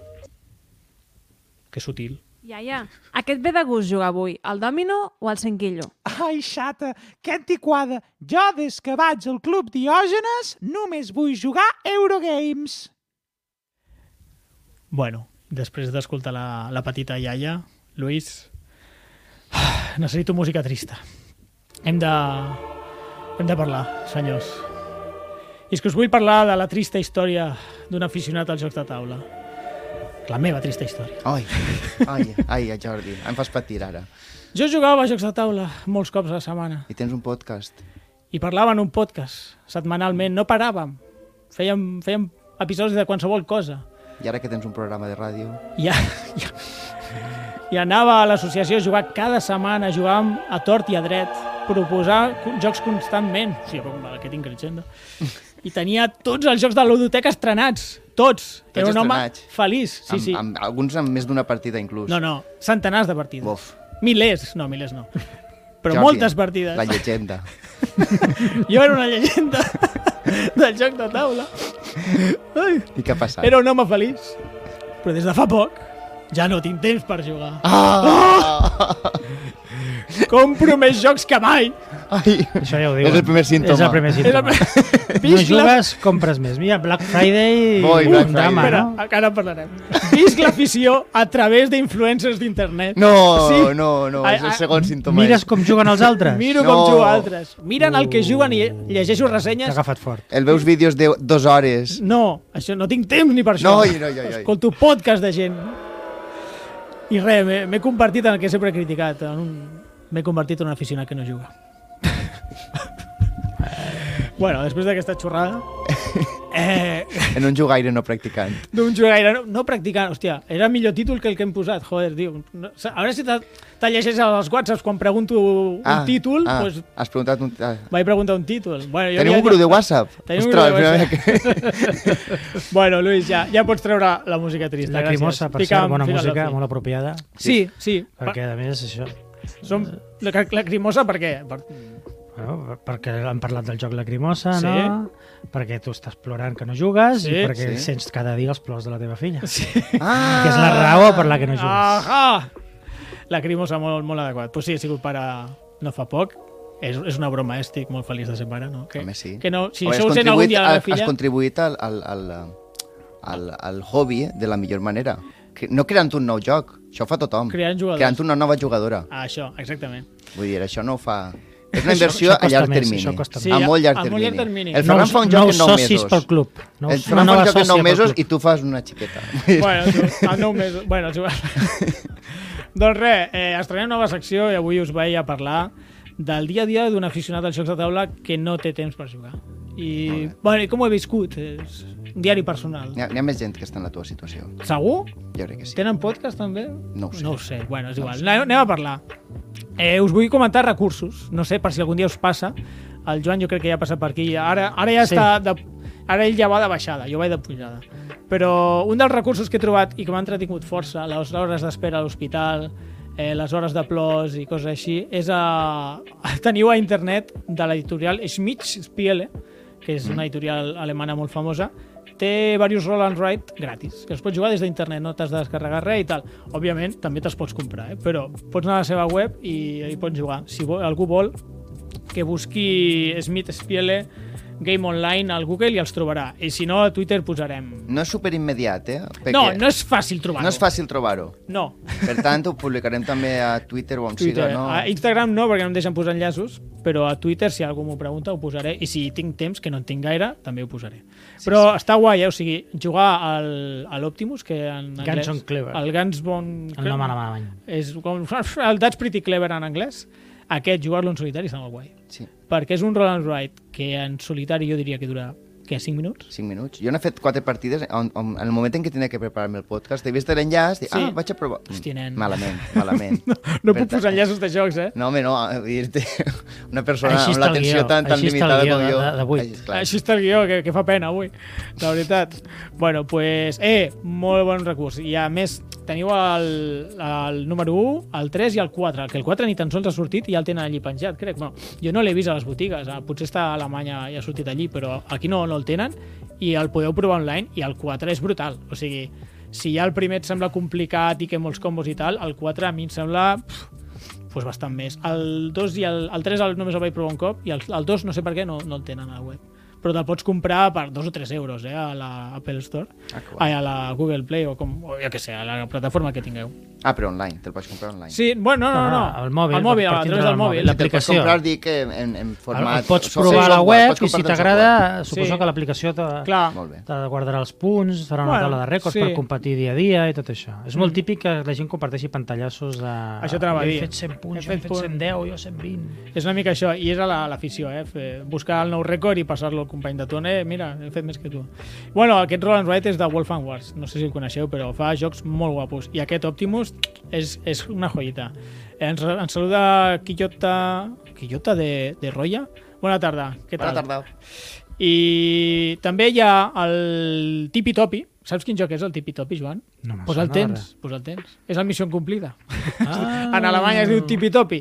[SPEAKER 1] Que sutil.
[SPEAKER 5] Iaia, aquest ve de gust jugar avui, al dòmino o al cinquillo?
[SPEAKER 6] Ai, xata, que antiquada! Jo, des que vaig al Club Diògenes, només vull jugar Eurogames.
[SPEAKER 1] Bueno, després d'escoltar la, la petita iaia, Lluís, ah, necessito música trista. Hem de... Hem de parlar, senyors. I és que us vull parlar de la trista història d'un aficionat als jocs de taula. La meva trista història.
[SPEAKER 2] Ai, ai, ai, Jordi, em fas patir ara.
[SPEAKER 1] Jo jugava a jocs de taula molts cops a la setmana
[SPEAKER 2] I tens un podcast.
[SPEAKER 1] i parlava en un podcast setmanalment. No paràvem. Fèiem, fèiem episodis de qualsevol cosa.
[SPEAKER 2] I ara que tens un programa de ràdio...
[SPEAKER 1] I, a, i, i anava a l'associació a jugar cada setmana, jugàvem a tort i a dret, proposar co- jocs constantment. O sigui, com aquest increscendo. I tenia tots els jocs de ludoteca estrenats, tots.
[SPEAKER 2] Tots
[SPEAKER 1] Era un home
[SPEAKER 2] estrenats.
[SPEAKER 1] feliç, sí,
[SPEAKER 2] amb,
[SPEAKER 1] sí.
[SPEAKER 2] Amb, alguns amb més d'una partida, inclús.
[SPEAKER 1] No, no, centenars de partides.
[SPEAKER 2] Bof.
[SPEAKER 1] Milers, no, milers no. Però
[SPEAKER 2] Jordi,
[SPEAKER 1] moltes partides.
[SPEAKER 2] La llegenda.
[SPEAKER 1] Jo era una llegenda del joc de taula. Ai,
[SPEAKER 2] I què ha passat?
[SPEAKER 1] era un home feliç, però des de fa poc ja no tinc temps per jugar.
[SPEAKER 2] Ah!
[SPEAKER 1] Compro més jocs que mai.
[SPEAKER 2] Ai.
[SPEAKER 3] Això ja ho diuen.
[SPEAKER 2] És el primer símptoma.
[SPEAKER 3] És el primer
[SPEAKER 1] Era...
[SPEAKER 3] símptoma. No
[SPEAKER 1] Visc la...
[SPEAKER 3] jugues, compres més. Mira, Black Friday...
[SPEAKER 2] Oi,
[SPEAKER 3] un
[SPEAKER 2] Black
[SPEAKER 3] drama,
[SPEAKER 2] Friday.
[SPEAKER 1] Espera,
[SPEAKER 3] no?
[SPEAKER 1] encara en parlarem. Visc l'afició a través d'influencers d'internet.
[SPEAKER 2] No,
[SPEAKER 1] Sí.
[SPEAKER 2] no, no, és el
[SPEAKER 1] Ai, ai,
[SPEAKER 2] segon símptoma.
[SPEAKER 3] Mires
[SPEAKER 2] és.
[SPEAKER 3] com juguen els altres.
[SPEAKER 1] Miro
[SPEAKER 2] No.
[SPEAKER 1] com juga altres. Miren el que juguen i llegeixo
[SPEAKER 3] T'ha
[SPEAKER 1] ressenyes.
[SPEAKER 3] agafat fort.
[SPEAKER 2] El veus vídeos de dues hores.
[SPEAKER 1] No, això no tinc temps ni per això.
[SPEAKER 2] No, oi, no, oi, oi, oi.
[SPEAKER 1] Escolto podcast de gent. I res, m'he m'he convertit en el que sempre he criticat. En un... M'he convertit en un aficionat que no juga. bueno, després d'aquesta xorrada... Eh,
[SPEAKER 2] En un jugaire no practicant.
[SPEAKER 1] d'un jugaire no, no practicant, hòstia, era millor títol que el que hem posat, joder, tio. No, a veure si te, te llegeix als whatsapps quan pregunto un títol,
[SPEAKER 2] ah,
[SPEAKER 1] doncs
[SPEAKER 2] Has preguntat un... Ah.
[SPEAKER 1] vaig preguntar un títol. Bueno, jo
[SPEAKER 2] Tenim
[SPEAKER 1] ja-
[SPEAKER 2] un grup de WhatsApp.
[SPEAKER 1] Tenim un grup
[SPEAKER 2] Ostres,
[SPEAKER 1] de
[SPEAKER 2] mira,
[SPEAKER 1] WhatsApp.
[SPEAKER 2] mira que-
[SPEAKER 1] Bueno, Lluís, ja, ja pots treure la música trista.
[SPEAKER 3] Lacrimosa,
[SPEAKER 1] gràcies.
[SPEAKER 3] per
[SPEAKER 1] Fica'm
[SPEAKER 3] cert, bona
[SPEAKER 1] fil a la
[SPEAKER 3] música,
[SPEAKER 1] fi.
[SPEAKER 3] molt apropiada.
[SPEAKER 1] Sí, sí.
[SPEAKER 3] Perquè, a més, això...
[SPEAKER 1] Per, som, la, lacrimosa per què? Per,
[SPEAKER 3] Bueno, perquè han parlat del joc Lacrimosa,
[SPEAKER 1] Sí.
[SPEAKER 3] no? Perquè tu estàs plorant que no jugues
[SPEAKER 1] Sí,
[SPEAKER 3] i perquè
[SPEAKER 2] sí.
[SPEAKER 3] sents cada dia els plors de la teva filla. Sí.
[SPEAKER 2] Ah!
[SPEAKER 3] Que és la raó per la que no jugues.
[SPEAKER 1] Ahà! Lacrimosa molt, molt adequat. Pues sí, he sigut pare no fa poc. És, és una broma, eh? estic molt feliç de ser pare, no? Que,
[SPEAKER 2] Home, sí.
[SPEAKER 1] que no, si
[SPEAKER 2] Home, has
[SPEAKER 1] això ho sent algun
[SPEAKER 2] contribuït
[SPEAKER 1] dia
[SPEAKER 2] al-
[SPEAKER 1] la meva filla...
[SPEAKER 2] Has contribuït al, al, al, al, al hobby de la millor manera. Que- No creant un nou joc, això ho fa tothom.
[SPEAKER 1] Creant jugadors.
[SPEAKER 2] Creant una nova jugadora.
[SPEAKER 1] Ah, això, exactament.
[SPEAKER 2] Vull dir, això no ho fa... És una inversió
[SPEAKER 3] això
[SPEAKER 2] a
[SPEAKER 3] costa
[SPEAKER 2] llarg
[SPEAKER 3] més,
[SPEAKER 2] termini.
[SPEAKER 3] això costa
[SPEAKER 1] Sí,
[SPEAKER 2] a
[SPEAKER 1] més.
[SPEAKER 2] molt llarg
[SPEAKER 1] a
[SPEAKER 2] termini.
[SPEAKER 1] molt llarg termini.
[SPEAKER 2] El Ferran
[SPEAKER 3] Nous-
[SPEAKER 2] fa un joc en
[SPEAKER 3] nous
[SPEAKER 2] 9
[SPEAKER 3] socis
[SPEAKER 2] mesos.
[SPEAKER 3] pel club. Nous-
[SPEAKER 2] El
[SPEAKER 3] una
[SPEAKER 2] Ferran fa
[SPEAKER 3] nova
[SPEAKER 2] un joc en
[SPEAKER 3] sòcia
[SPEAKER 2] 9
[SPEAKER 3] pel
[SPEAKER 2] mesos
[SPEAKER 3] club.
[SPEAKER 2] i tu fas una xiqueta.
[SPEAKER 1] Bueno, tu, el nou mes... Bueno, tu... doncs res, eh, estrenem nova secció i avui us vaig a parlar del dia a dia d'un aficionat als jocs de taula que no té temps per jugar. I, bueno, i com ho he viscut? És un diari personal.
[SPEAKER 2] N'hi ha, n'hi ha més gent que està en la teva situació.
[SPEAKER 1] Segur?
[SPEAKER 2] Jo crec que sí.
[SPEAKER 1] Tenen podcast també?
[SPEAKER 2] No ho sé.
[SPEAKER 1] No ho sé, bueno, és igual. Anem, anem a parlar. Eh, us vull comentar recursos, no sé, per si algun dia us passa. El Joan jo crec que ja ha passat per aquí. Ara, ara ja
[SPEAKER 3] Sí.
[SPEAKER 1] està... De, ara ell ja va de baixada, jo vaig de pujada. Però un dels recursos que he trobat i que m'ha entretingut força, les hores d'espera a l'hospital, eh, les hores de plors i coses així, és a... teniu a internet de l'editorial Schmidt-Spiele, que és
[SPEAKER 2] Mm.
[SPEAKER 1] una editorial alemana molt famosa, té diversos roll and write gratis, que es pot jugar des d'internet, no t'has de descarregar res i tal. Òbviament, també te'ls pots comprar, eh? però pots anar a la seva web i, i pots jugar. Si vol, algú vol que busqui Smith Spiele Game Online al Google i els trobarà. I si no, a Twitter posarem...
[SPEAKER 2] No és superimmediat, eh? Perquè
[SPEAKER 1] No, no és fàcil trobar-ho.
[SPEAKER 2] no és fàcil trobar-ho.
[SPEAKER 1] No.
[SPEAKER 2] Per tant, ho publicarem també a Twitter o on
[SPEAKER 1] Twitter.
[SPEAKER 2] siga, no?
[SPEAKER 1] A Instagram no, perquè no em deixen posar enllaços, però a Twitter, si algú m'ho pregunta, ho posaré, i si tinc temps, que no en tinc gaire, també ho posaré. Sí, però sí. està guai, eh? o sigui, jugar al, a l'Optimus, que en
[SPEAKER 3] Guns
[SPEAKER 1] anglès...
[SPEAKER 3] on Clever.
[SPEAKER 1] El Guns Bon...
[SPEAKER 3] El nom anava malament.
[SPEAKER 1] És com... El That's Pretty Clever en anglès. Aquest, jugar-lo en solitari, està molt guai.
[SPEAKER 2] Sí,
[SPEAKER 1] Perquè és un roll and ride que en solitari jo diria que dura, què, 5 minuts?
[SPEAKER 2] 5 minuts. Jo n'he fet 4 partides, on, on, en el moment en què tenia que preparar-me el podcast, he vist l'enllaç, dic,
[SPEAKER 1] Sí.
[SPEAKER 2] ah, vaig a provar...
[SPEAKER 1] Hòstia, nen.
[SPEAKER 2] Malament, malament.
[SPEAKER 1] No
[SPEAKER 2] Per
[SPEAKER 1] puc
[SPEAKER 2] tant-
[SPEAKER 1] posar enllaços de jocs, eh?
[SPEAKER 2] No, home, no, dir-te una persona
[SPEAKER 3] Així
[SPEAKER 2] amb
[SPEAKER 3] està el
[SPEAKER 2] l'atenció
[SPEAKER 3] guió,
[SPEAKER 2] tan, tan
[SPEAKER 3] així està el
[SPEAKER 2] limitada
[SPEAKER 3] guió
[SPEAKER 2] com
[SPEAKER 3] de-
[SPEAKER 2] jo.
[SPEAKER 3] de- de vuit.
[SPEAKER 2] Ai,
[SPEAKER 1] Clar.
[SPEAKER 2] clar.
[SPEAKER 1] Així està el guió, que, que fa pena avui, la veritat. bueno, pues, eh, molt bon recurs. I a més, teniu el, el número 1, el 3 i el 4, que el 4 ni tan sols ha sortit i ja el tenen allí penjat, crec. Bueno, jo no l'he vist a les botigues, eh? potser està a Alemanya i ha sortit allí, però aquí no, no el tenen i el podeu provar online i el 4 és brutal, o sigui, si ja el primer et sembla complicat i que molts combos i tal, el 4 a mi em sembla pff, pues bastant més. El 2 i el, el 3 el, només el vaig provar un cop i el, el 2 no sé per què no, no el tenen a la web però te'l pots comprar per 2 o 3 euros eh, a la Apple Store
[SPEAKER 2] Ah, que guai.
[SPEAKER 1] ai, a la Google Play o, com, o jo que sé, a la plataforma que tingueu
[SPEAKER 2] Ah, però online, te'l pots comprar online.
[SPEAKER 1] sí, bueno, no, no, no,
[SPEAKER 3] Ah, al mòbil,
[SPEAKER 1] al mòbil,
[SPEAKER 3] per
[SPEAKER 1] a través
[SPEAKER 3] tindre
[SPEAKER 1] del
[SPEAKER 3] al
[SPEAKER 1] mòbil,
[SPEAKER 2] Si
[SPEAKER 3] mòbil.
[SPEAKER 2] te'l pots
[SPEAKER 3] l'aplicació.
[SPEAKER 2] comprar, dic, que en, en format...
[SPEAKER 3] El pots
[SPEAKER 2] so-
[SPEAKER 3] provar a la
[SPEAKER 2] software,
[SPEAKER 3] web
[SPEAKER 2] pots
[SPEAKER 3] i si
[SPEAKER 2] comprar-te'l
[SPEAKER 3] t'agrada, suposo
[SPEAKER 1] Sí.
[SPEAKER 3] que l'aplicació te-
[SPEAKER 1] clar,
[SPEAKER 2] software. Molt bé.
[SPEAKER 3] T'ha de guardar els punts, farà
[SPEAKER 1] Bueno,
[SPEAKER 3] una bueno, taula de rècords
[SPEAKER 1] sí. Mm.
[SPEAKER 3] sí. per competir dia a dia i tot això. És molt típic que la gent comparteixi pantallassos de...
[SPEAKER 1] Això t'anava a
[SPEAKER 3] "Jo
[SPEAKER 1] dir.
[SPEAKER 3] He fet 100 punts,
[SPEAKER 1] He
[SPEAKER 3] jo he
[SPEAKER 1] fet
[SPEAKER 3] fet
[SPEAKER 1] punt."
[SPEAKER 3] 110, jo 120...
[SPEAKER 1] és una mica això, i és a la- a l'afició, la, eh? Fer, buscar el nou rècord i passar-lo al company de torn. Eh, mira, he fet més que tu. Bueno, aquest Roland Wright és de Wolf and Wars, no sé si el coneixeu, però fa jocs molt guapos. I aquest Optimus és, és una joyita. Eh, Ens, ens saluda Quillota, Quillota de, de Roya. Bona tarda, què tal?
[SPEAKER 2] Bona tarda.
[SPEAKER 1] I també hi ha el Tipi Topi. Saps quin joc és el Tipi Topi, Joan?
[SPEAKER 3] No me
[SPEAKER 1] pues el
[SPEAKER 3] sona
[SPEAKER 1] tens,
[SPEAKER 3] res.
[SPEAKER 1] pues el tens. És el Missió Incomplida.
[SPEAKER 3] Ah.
[SPEAKER 1] en Alemanya es diu Tipi Topi.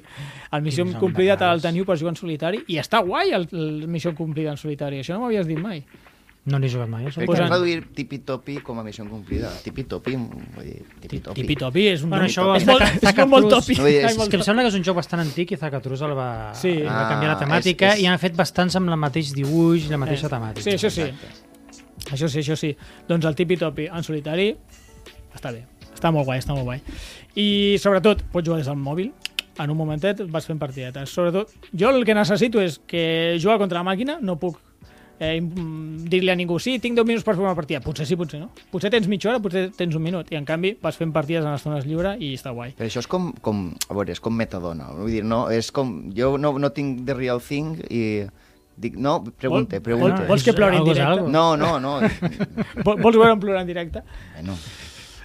[SPEAKER 1] El Missió
[SPEAKER 3] Quins
[SPEAKER 1] Incomplida el
[SPEAKER 3] envasats.
[SPEAKER 1] teniu per jugar en solitari i està guai el, el Missió Incomplida en solitari. Això no m'havies dit mai.
[SPEAKER 3] No n'he jugat mai. Això.
[SPEAKER 2] Per
[SPEAKER 1] Pues
[SPEAKER 2] què
[SPEAKER 1] en-
[SPEAKER 2] traduir tipi-topi com a missió complida? Tipi-topi, vull dir, tipi-topi.
[SPEAKER 1] Tipi Topi és un
[SPEAKER 3] Bueno,
[SPEAKER 1] nom-
[SPEAKER 3] això
[SPEAKER 1] és,
[SPEAKER 3] està
[SPEAKER 1] molt,
[SPEAKER 3] ca-
[SPEAKER 1] és
[SPEAKER 3] està
[SPEAKER 1] molt
[SPEAKER 3] captús.
[SPEAKER 1] topi.
[SPEAKER 2] No, és-
[SPEAKER 1] Ai, molt
[SPEAKER 2] és
[SPEAKER 3] És que em
[SPEAKER 1] topi.
[SPEAKER 3] sembla que és un joc bastant antic i Zacatrus el va,
[SPEAKER 1] Sí.
[SPEAKER 3] el va canviar
[SPEAKER 2] Ah,
[SPEAKER 3] la temàtica
[SPEAKER 2] és- és-
[SPEAKER 3] i han fet bastants amb el mateix dibuix i la mateixa temàtica.
[SPEAKER 1] Sí, això sí. Això sí, això sí. Doncs el tipi topi en solitari està bé. Està molt guai, està molt guai. I sobretot, pots jugar des del mòbil, en un momentet vas fent partidetes. Sobretot, jo el que necessito és que jugar contra la màquina, no puc eh, im- dir-li a ningú, sí, tinc 10 minuts per fer una partida. Potser sí, potser no. Potser tens mitja hora, potser tens un minut. I en canvi vas fent partides en estones lliure i està guai.
[SPEAKER 2] Però això és com, com, a veure, és com metadona. Vull dir, no, és com, jo no, no tinc The Real Thing i dic, no, pregunte,
[SPEAKER 1] Vol-
[SPEAKER 2] pregunte.
[SPEAKER 1] vol- vols que plori en
[SPEAKER 3] Algo és
[SPEAKER 1] directe?
[SPEAKER 3] algo.
[SPEAKER 2] No, no, no.
[SPEAKER 1] Vol- Vols veure un plorar en directe?
[SPEAKER 2] bueno,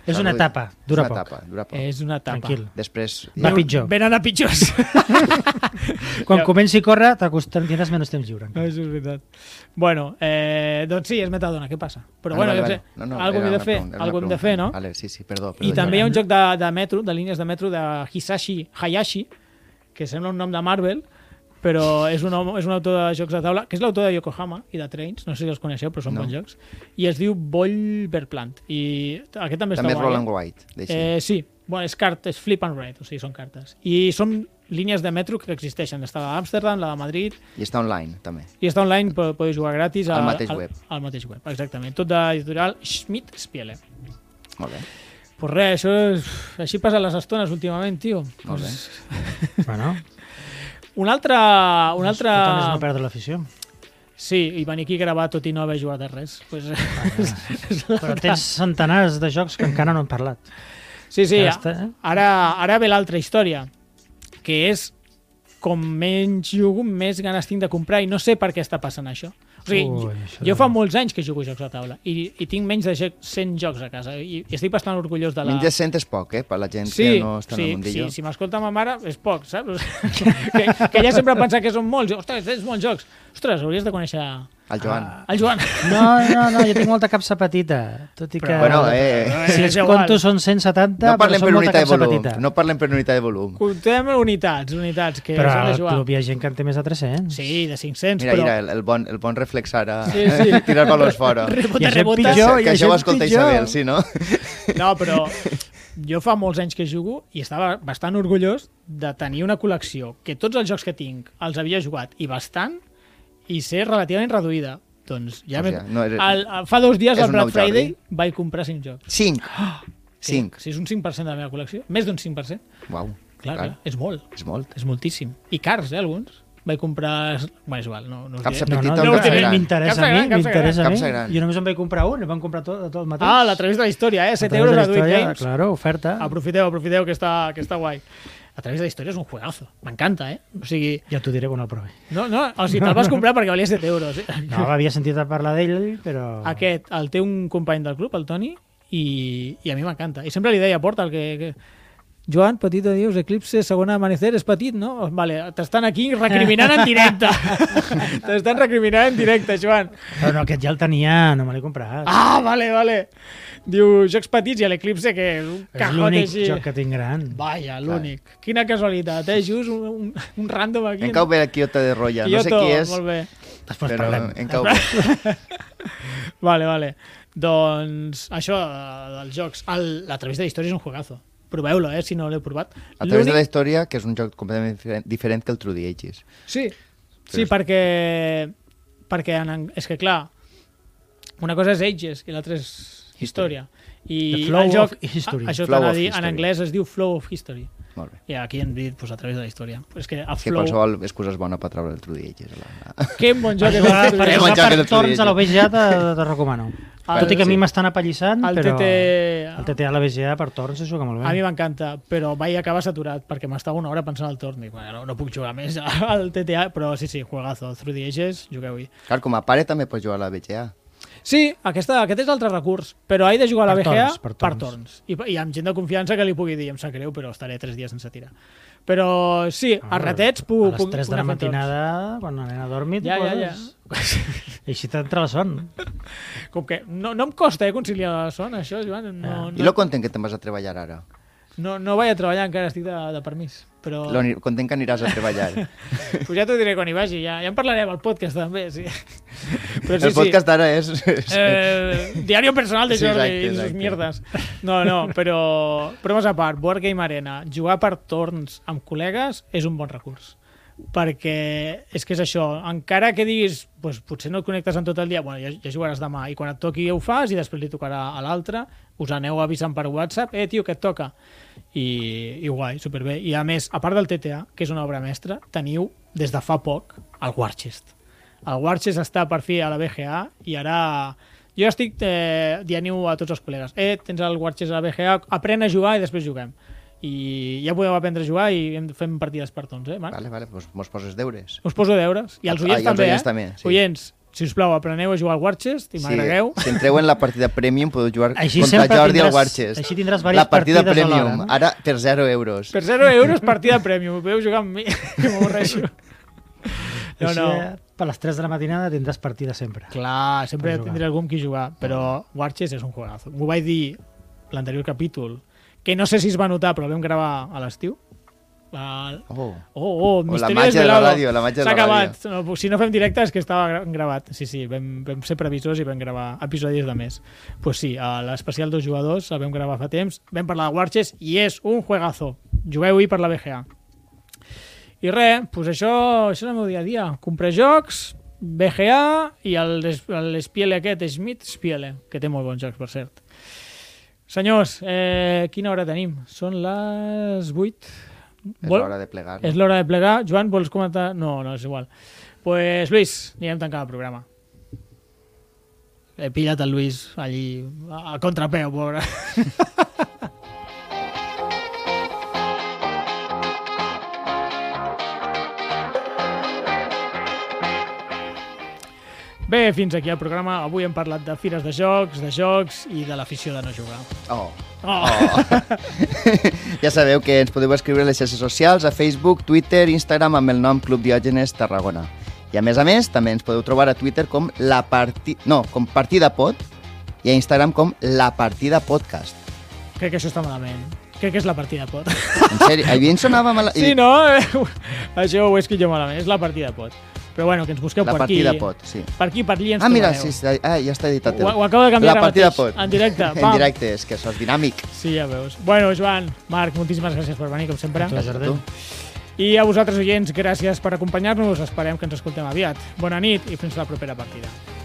[SPEAKER 3] És una etapa, dura
[SPEAKER 2] és una
[SPEAKER 3] poc.
[SPEAKER 2] Etapa, dura poc.
[SPEAKER 1] És una etapa.
[SPEAKER 3] Tranquil.
[SPEAKER 2] Després...
[SPEAKER 3] Va pitjor.
[SPEAKER 1] Venen a pitjors.
[SPEAKER 3] Quan
[SPEAKER 1] Ja.
[SPEAKER 3] comenci a córrer, t'acostarà, tindràs menys temps lliure.
[SPEAKER 1] No, això és veritat. Bueno, eh, doncs sí, és Metadona, què passa? Però
[SPEAKER 2] Ah,
[SPEAKER 1] bueno,
[SPEAKER 2] vale,
[SPEAKER 1] jo
[SPEAKER 2] vale.
[SPEAKER 1] sé, algo
[SPEAKER 2] era
[SPEAKER 1] hem de
[SPEAKER 2] una
[SPEAKER 1] fer,
[SPEAKER 2] pregunta, era
[SPEAKER 1] algo hem
[SPEAKER 2] una
[SPEAKER 1] de fer, no?
[SPEAKER 2] pregunta. Vale, sí, sí, perdó. perdó
[SPEAKER 1] I també hi ha
[SPEAKER 2] Joan.
[SPEAKER 1] un joc de, de metro, de línies de metro de Hisashi Hayashi, que sembla un nom de Marvel, però és un, home, és un autor de jocs de taula, que és l'autor de Yokohama i de Trains, no sé si els coneixeu, però són
[SPEAKER 2] No.
[SPEAKER 1] bons jocs, i es diu Volverplant, i aquest també, està
[SPEAKER 2] També és
[SPEAKER 1] guai. eh?
[SPEAKER 2] Roland White, deixi.
[SPEAKER 1] Eh, sí, bueno, és cartes, flip and write, o sigui, són cartes. I són línies de metro que existeixen. Està la d'Amsterdam, la de Madrid,
[SPEAKER 2] I està online, també.
[SPEAKER 1] i està online, però podeu jugar gratis
[SPEAKER 2] Al mateix web.
[SPEAKER 1] Al, al mateix web, exactament. Tot de l'editorial Schmidt Spiele.
[SPEAKER 2] Molt bé.
[SPEAKER 1] Pues res, això és... així passen les estones últimament, tio.
[SPEAKER 2] Molt bé.
[SPEAKER 3] Bueno,
[SPEAKER 1] Un altre... Un altre...
[SPEAKER 3] Important és no perdre l'afició.
[SPEAKER 1] Sí, i venir aquí a gravar tot i no haver jugat a res. Pues... és, és
[SPEAKER 3] Però
[SPEAKER 1] l'altre.
[SPEAKER 3] tens centenars de jocs que encara no hem parlat.
[SPEAKER 1] Sí, sí,
[SPEAKER 3] Ja
[SPEAKER 1] ja
[SPEAKER 3] està, eh?
[SPEAKER 1] ara, ara ve l'altra història, que és com menys jugo, més ganes tinc de comprar i no sé per què està passant això. O sigui,
[SPEAKER 3] Ui,
[SPEAKER 1] Ui,
[SPEAKER 3] això
[SPEAKER 1] jo
[SPEAKER 3] no.
[SPEAKER 1] fa molts anys que jugo a jocs de taula i, i tinc menys de jo- 100 jocs a casa i, i estic bastant orgullós de la...
[SPEAKER 2] Menys de 100 és poc, eh? Per la gent
[SPEAKER 1] Sí,
[SPEAKER 2] que no està
[SPEAKER 1] sí,
[SPEAKER 2] en el
[SPEAKER 1] sí,
[SPEAKER 2] mundillo.
[SPEAKER 1] si m'escolta ma mare és poc, saps? que, que ella sempre pensa que són molts. Ostres, tens molts jocs. Ostres, hauries de conèixer
[SPEAKER 2] El Joan.
[SPEAKER 1] el Joan.
[SPEAKER 3] No, no, no, jo tinc molta capsa petita. Tot i que...
[SPEAKER 2] Bueno, eh,
[SPEAKER 1] Eh,
[SPEAKER 3] Si
[SPEAKER 1] és
[SPEAKER 3] els
[SPEAKER 1] igual.
[SPEAKER 3] contos són 170,
[SPEAKER 2] no
[SPEAKER 3] però
[SPEAKER 2] parlem
[SPEAKER 3] són
[SPEAKER 2] per
[SPEAKER 3] molta
[SPEAKER 2] unitat de
[SPEAKER 3] capsa
[SPEAKER 2] volum.
[SPEAKER 3] petita.
[SPEAKER 2] No parlem per unitat de volum.
[SPEAKER 1] Comptem unitats, unitats, que
[SPEAKER 3] però
[SPEAKER 1] s'ha
[SPEAKER 3] al
[SPEAKER 1] de jugar.
[SPEAKER 3] club hi ha gent que en té més de 300.
[SPEAKER 1] Sí, de 500,
[SPEAKER 2] Mira,
[SPEAKER 1] però...
[SPEAKER 2] mira, el, el, bon, el bon reflex ara.
[SPEAKER 1] Sí, sí.
[SPEAKER 2] Tirar valors fora.
[SPEAKER 3] Hi
[SPEAKER 1] Rebota,
[SPEAKER 3] ha gent
[SPEAKER 1] rebota.
[SPEAKER 3] pitjor.
[SPEAKER 2] que
[SPEAKER 3] hi ha
[SPEAKER 2] això
[SPEAKER 3] gent
[SPEAKER 2] ho escolta
[SPEAKER 3] pitjor.
[SPEAKER 2] Isabel, sí, no?
[SPEAKER 1] No, però jo fa molts anys que jugo i estava bastant orgullós de tenir una col·lecció que tots els jocs que tinc els havia jugat i bastant i ser relativament reduïda. Doncs ja
[SPEAKER 2] Hòstia,
[SPEAKER 1] m'he-
[SPEAKER 2] no, és-
[SPEAKER 1] el, el, fa dos dies
[SPEAKER 2] és
[SPEAKER 1] al
[SPEAKER 2] un
[SPEAKER 1] Black
[SPEAKER 2] nou eh? Jordi.
[SPEAKER 1] Friday vaig comprar 5 jocs.
[SPEAKER 2] 5.
[SPEAKER 1] Ah,
[SPEAKER 2] 5.
[SPEAKER 1] Sí, és un 5% de la meva col·lecció. Més d'un 5%.
[SPEAKER 2] Uau.
[SPEAKER 1] Clar, clar, és molt.
[SPEAKER 2] És molt.
[SPEAKER 1] És moltíssim. I cars, eh, alguns. Vaig comprar... Bé, és igual, no, no us
[SPEAKER 2] Capsa
[SPEAKER 1] diré.
[SPEAKER 3] No, no,
[SPEAKER 2] Petita
[SPEAKER 1] o
[SPEAKER 3] no,
[SPEAKER 1] capsa gran?
[SPEAKER 3] m'interessa
[SPEAKER 1] Capsa
[SPEAKER 3] a mi,
[SPEAKER 1] gran, capsa
[SPEAKER 3] m'interessa a
[SPEAKER 2] gran.
[SPEAKER 3] mi.
[SPEAKER 2] Capsa gran.
[SPEAKER 3] Jo només em vaig comprar un, em van comprar tot, tot el mateix.
[SPEAKER 1] Ah, la través de la història, eh? 7
[SPEAKER 3] A través
[SPEAKER 1] euros
[SPEAKER 3] de tota la Ah,
[SPEAKER 1] reduït
[SPEAKER 3] història,
[SPEAKER 1] games.
[SPEAKER 3] Claro, oferta.
[SPEAKER 1] Aprofiteu, aprofiteu que està, que està guai. A través de la història és un juegazo. M'encanta, eh? O sigui,
[SPEAKER 3] Ja t'ho diré quan el provi.
[SPEAKER 1] no, no, o sigui, te'l vas comprar perquè valia 7 euros. Eh?
[SPEAKER 3] No, havia sentit a parlar d'ell, però...
[SPEAKER 1] Aquest el té un company del club, el Toni, i, i a mi m'encanta. I sempre li deia, porta el que, que... Joan, Petito, dius, Eclipse, segon amanecer, és petit, no? Vale, t'estan aquí recriminant en directe. t'estan recriminant en directe, Joan.
[SPEAKER 3] Però no, aquest ja el tenia, no me l'he comprat.
[SPEAKER 1] Ah, vale, vale. Diu, jocs petits i a l'Eclipse, que és un
[SPEAKER 3] és
[SPEAKER 1] cajot
[SPEAKER 3] l'únic
[SPEAKER 1] així.
[SPEAKER 3] joc que tinc gran.
[SPEAKER 1] Vaja, l'únic. Quina casualitat, eh? Just un, un, un random aquí.
[SPEAKER 2] En cau ve la Quiote de Roya. No sé
[SPEAKER 1] Kyoto,
[SPEAKER 2] qui és,
[SPEAKER 1] Molt bé.
[SPEAKER 3] Després
[SPEAKER 2] però
[SPEAKER 3] parlem.
[SPEAKER 2] en cau ve.
[SPEAKER 1] Vale, vale. Doncs això eh, dels jocs. El, la través de la història és un juegazo. Proveu-lo, eh, si no l'heu provat.
[SPEAKER 2] A través de la
[SPEAKER 1] L'únic-
[SPEAKER 2] història, que és un joc completament diferent, diferent que el True the Ages.
[SPEAKER 1] Sí, sí perquè, perquè en, ang- és que clar, una cosa és Ages i l'altra és història.
[SPEAKER 3] The
[SPEAKER 1] I
[SPEAKER 3] flow
[SPEAKER 1] el joc,
[SPEAKER 3] of history.
[SPEAKER 1] a- això
[SPEAKER 2] Flow
[SPEAKER 1] t'anava a
[SPEAKER 2] of
[SPEAKER 1] dir, en
[SPEAKER 2] history.
[SPEAKER 1] anglès es diu Flow of History.
[SPEAKER 2] Molt bé.
[SPEAKER 1] I aquí hem dit pues, a través de la història. Però És que a
[SPEAKER 2] És que
[SPEAKER 1] Flow...
[SPEAKER 2] qualsevol excusa és bona per treure el True the Ages. a La...
[SPEAKER 1] Que bon joc és
[SPEAKER 3] Per
[SPEAKER 1] el
[SPEAKER 2] True the
[SPEAKER 1] True
[SPEAKER 2] Ages.
[SPEAKER 3] passar
[SPEAKER 2] que
[SPEAKER 3] per
[SPEAKER 2] no t'ho
[SPEAKER 3] torns
[SPEAKER 2] diré.
[SPEAKER 3] a la BGA te, te recomano.
[SPEAKER 1] El-
[SPEAKER 3] Tot i que a mi
[SPEAKER 2] sí.
[SPEAKER 3] m'estan apallissant,
[SPEAKER 1] El
[SPEAKER 3] però...
[SPEAKER 1] TT-
[SPEAKER 3] El TT a la BGA per torns es juga molt
[SPEAKER 1] A mi
[SPEAKER 3] bé.
[SPEAKER 1] m'encanta, però vaig acabar saturat perquè m'estava una hora pensant al torn i bueno, no, no puc jugar més al TTA, però sí, sí, juegazo, Through the Ages, jugueu-hi.
[SPEAKER 2] Clar, com a pare també pots jugar a la BGA.
[SPEAKER 1] Sí, aquesta, aquest és l'altre recurs, però he de jugar a la
[SPEAKER 3] Per
[SPEAKER 1] BGA
[SPEAKER 3] torns, per
[SPEAKER 1] per
[SPEAKER 3] torns.
[SPEAKER 1] torns. I, I amb gent de confiança que li pugui dir, em sap greu, però estaré tres dies sense tirar. Però sí, a ratets
[SPEAKER 3] Ah, A
[SPEAKER 1] puc...
[SPEAKER 3] les 3
[SPEAKER 1] anar
[SPEAKER 3] de la
[SPEAKER 1] fent torns.
[SPEAKER 3] matinada, quan la nena ha dormit,
[SPEAKER 1] Ja, ja,
[SPEAKER 3] poses-
[SPEAKER 1] ja.
[SPEAKER 3] I així t'entra la son.
[SPEAKER 1] Com que no, no em costa eh, conciliar la son, això, Joan.
[SPEAKER 3] Ah.
[SPEAKER 1] No,
[SPEAKER 2] I
[SPEAKER 1] no,
[SPEAKER 2] lo content que te'n vas a treballar ara.
[SPEAKER 1] no, no vaig a treballar, encara estic de, de permís.
[SPEAKER 3] Oh.
[SPEAKER 1] Però...
[SPEAKER 2] Lo ni- content que aniràs a treballar.
[SPEAKER 1] Pues ja t'ho diré quan hi vagi, ja, ja en parlarem al podcast també, sí. Però sí,
[SPEAKER 2] el podcast d'ara és... és...
[SPEAKER 1] sí. Eh, diario personal de
[SPEAKER 2] Sí,
[SPEAKER 1] Jordi
[SPEAKER 2] exacte,
[SPEAKER 1] i sus
[SPEAKER 2] exacte.
[SPEAKER 1] mierdes. No, no, però bromes a part, Board Game Arena, jugar per torns amb col·legues és un bon recurs perquè és que és això, encara que diguis pues, potser no et connectes en tot el dia bueno, ja, ja jugaràs demà, i quan et toqui ho fas i després li tocarà a l'altre, us aneu avisant per WhatsApp, eh tio, que et toca i, i guai, superbé i a més, a part del TTA, que és una obra mestra teniu des de fa poc el Warchest el Warchest està per fi a la BGA i ara jo estic eh, dianiu a tots els col·legues eh, tens el Warchest a la BGA, aprèn a jugar i després juguem i ja podeu aprendre a jugar i hem- fem partides per tons, eh, Marc?
[SPEAKER 2] Vale, vale, doncs mos poses deures.
[SPEAKER 1] Us poso deures. I els
[SPEAKER 2] Ah,
[SPEAKER 1] oients
[SPEAKER 2] i els
[SPEAKER 1] també,
[SPEAKER 2] oients
[SPEAKER 1] eh?
[SPEAKER 2] també, sí.
[SPEAKER 1] Oients, si us plau, apreneu a jugar al Warchest i m'agregueu.
[SPEAKER 2] si entreu en la partida Premium podeu jugar
[SPEAKER 3] Així
[SPEAKER 2] contra
[SPEAKER 3] sempre
[SPEAKER 2] Jordi al
[SPEAKER 3] tindràs-
[SPEAKER 2] Warches.
[SPEAKER 3] així tindràs
[SPEAKER 2] la
[SPEAKER 3] diverses
[SPEAKER 2] partida
[SPEAKER 3] partides
[SPEAKER 2] Premium,
[SPEAKER 3] alhora, no?
[SPEAKER 2] ara per 0 euros.
[SPEAKER 1] Per 0 euros partida premium. Podeu jugar amb mi, que m'avorreixo. No,
[SPEAKER 3] Així,
[SPEAKER 1] no.
[SPEAKER 3] eh, Per les 3 de la matinada tindràs partida sempre.
[SPEAKER 1] Clar, sempre
[SPEAKER 3] Per jugar.
[SPEAKER 1] tindré algú amb qui jugar, però Warchest és un juegazo. M'ho vaig dir l'anterior capítol, que no sé si es va notar, però vam gravar a l'estiu. Al-
[SPEAKER 2] Oh.
[SPEAKER 1] Oh, oh,
[SPEAKER 2] la
[SPEAKER 1] Misterio
[SPEAKER 2] màgia de la
[SPEAKER 1] desvelado.
[SPEAKER 2] ràdio, la màgia de
[SPEAKER 1] S'ha
[SPEAKER 2] la
[SPEAKER 1] acabat. No, si no fem directes, que estava gra- gravat. Sí, sí, vam, vam ser previsors i vam gravar episodis de més. Doncs pues sí, a l'especial dos jugadors el vam gravar fa temps, vam parlar de Warches i és un juegazo. Jugueu-hi per la BGA. I res, pues això, això és el meu dia a dia. Comprar jocs, BGA i el- l'espiele aquest, Smith Spiele, que té molt bons jocs, per cert. Senyors, eh, quina hora tenim? Són les 8.
[SPEAKER 2] És l'hora de plegar.
[SPEAKER 1] És l'hora de plegar. Joan, vols comentar? No, no, és igual. Pues, Lluís, anirem tancant el programa. He pillat el Lluís allí a a contrapeu, pobre. Bé, fins aquí el programa. Avui hem parlat de fires de jocs, de jocs i de l'afició de no jugar.
[SPEAKER 2] Oh.
[SPEAKER 1] Oh.
[SPEAKER 2] ja sabeu que ens podeu escriure a les xarxes socials, a Facebook, Twitter, Instagram, amb el nom Club Diògenes Tarragona. I a més a més, també ens podeu trobar a Twitter com la parti... no, com Partida Pod i a Instagram com La Partida Podcast.
[SPEAKER 1] Crec que això està malament. Crec que és la partida pot.
[SPEAKER 2] En sèrio, a mi em sonava mal...
[SPEAKER 1] Sí, no? Això ho he escrit jo malament. És la partida pot. Però bueno, que ens busqueu
[SPEAKER 2] La
[SPEAKER 1] per aquí.
[SPEAKER 2] partida pot, sí.
[SPEAKER 1] Per aquí, per allí ens
[SPEAKER 2] Ah, mira, sí,
[SPEAKER 1] trobareu.
[SPEAKER 2] sí, ah, ja està editat.
[SPEAKER 1] Ho, ho acabo de canviar
[SPEAKER 2] La
[SPEAKER 1] ara
[SPEAKER 2] partida
[SPEAKER 1] mateix,
[SPEAKER 2] pot.
[SPEAKER 1] En directe. Pam.
[SPEAKER 2] En directe, és que això és dinàmic.
[SPEAKER 1] Sí, ja veus. Bueno, Joan, Marc, moltíssimes gràcies per venir, com sempre.
[SPEAKER 3] Tu, Jordi.
[SPEAKER 2] Tu.
[SPEAKER 1] I a vosaltres, oients, gràcies per acompanyar-nos. Esperem que ens escoltem aviat. Bona nit i fins la propera partida.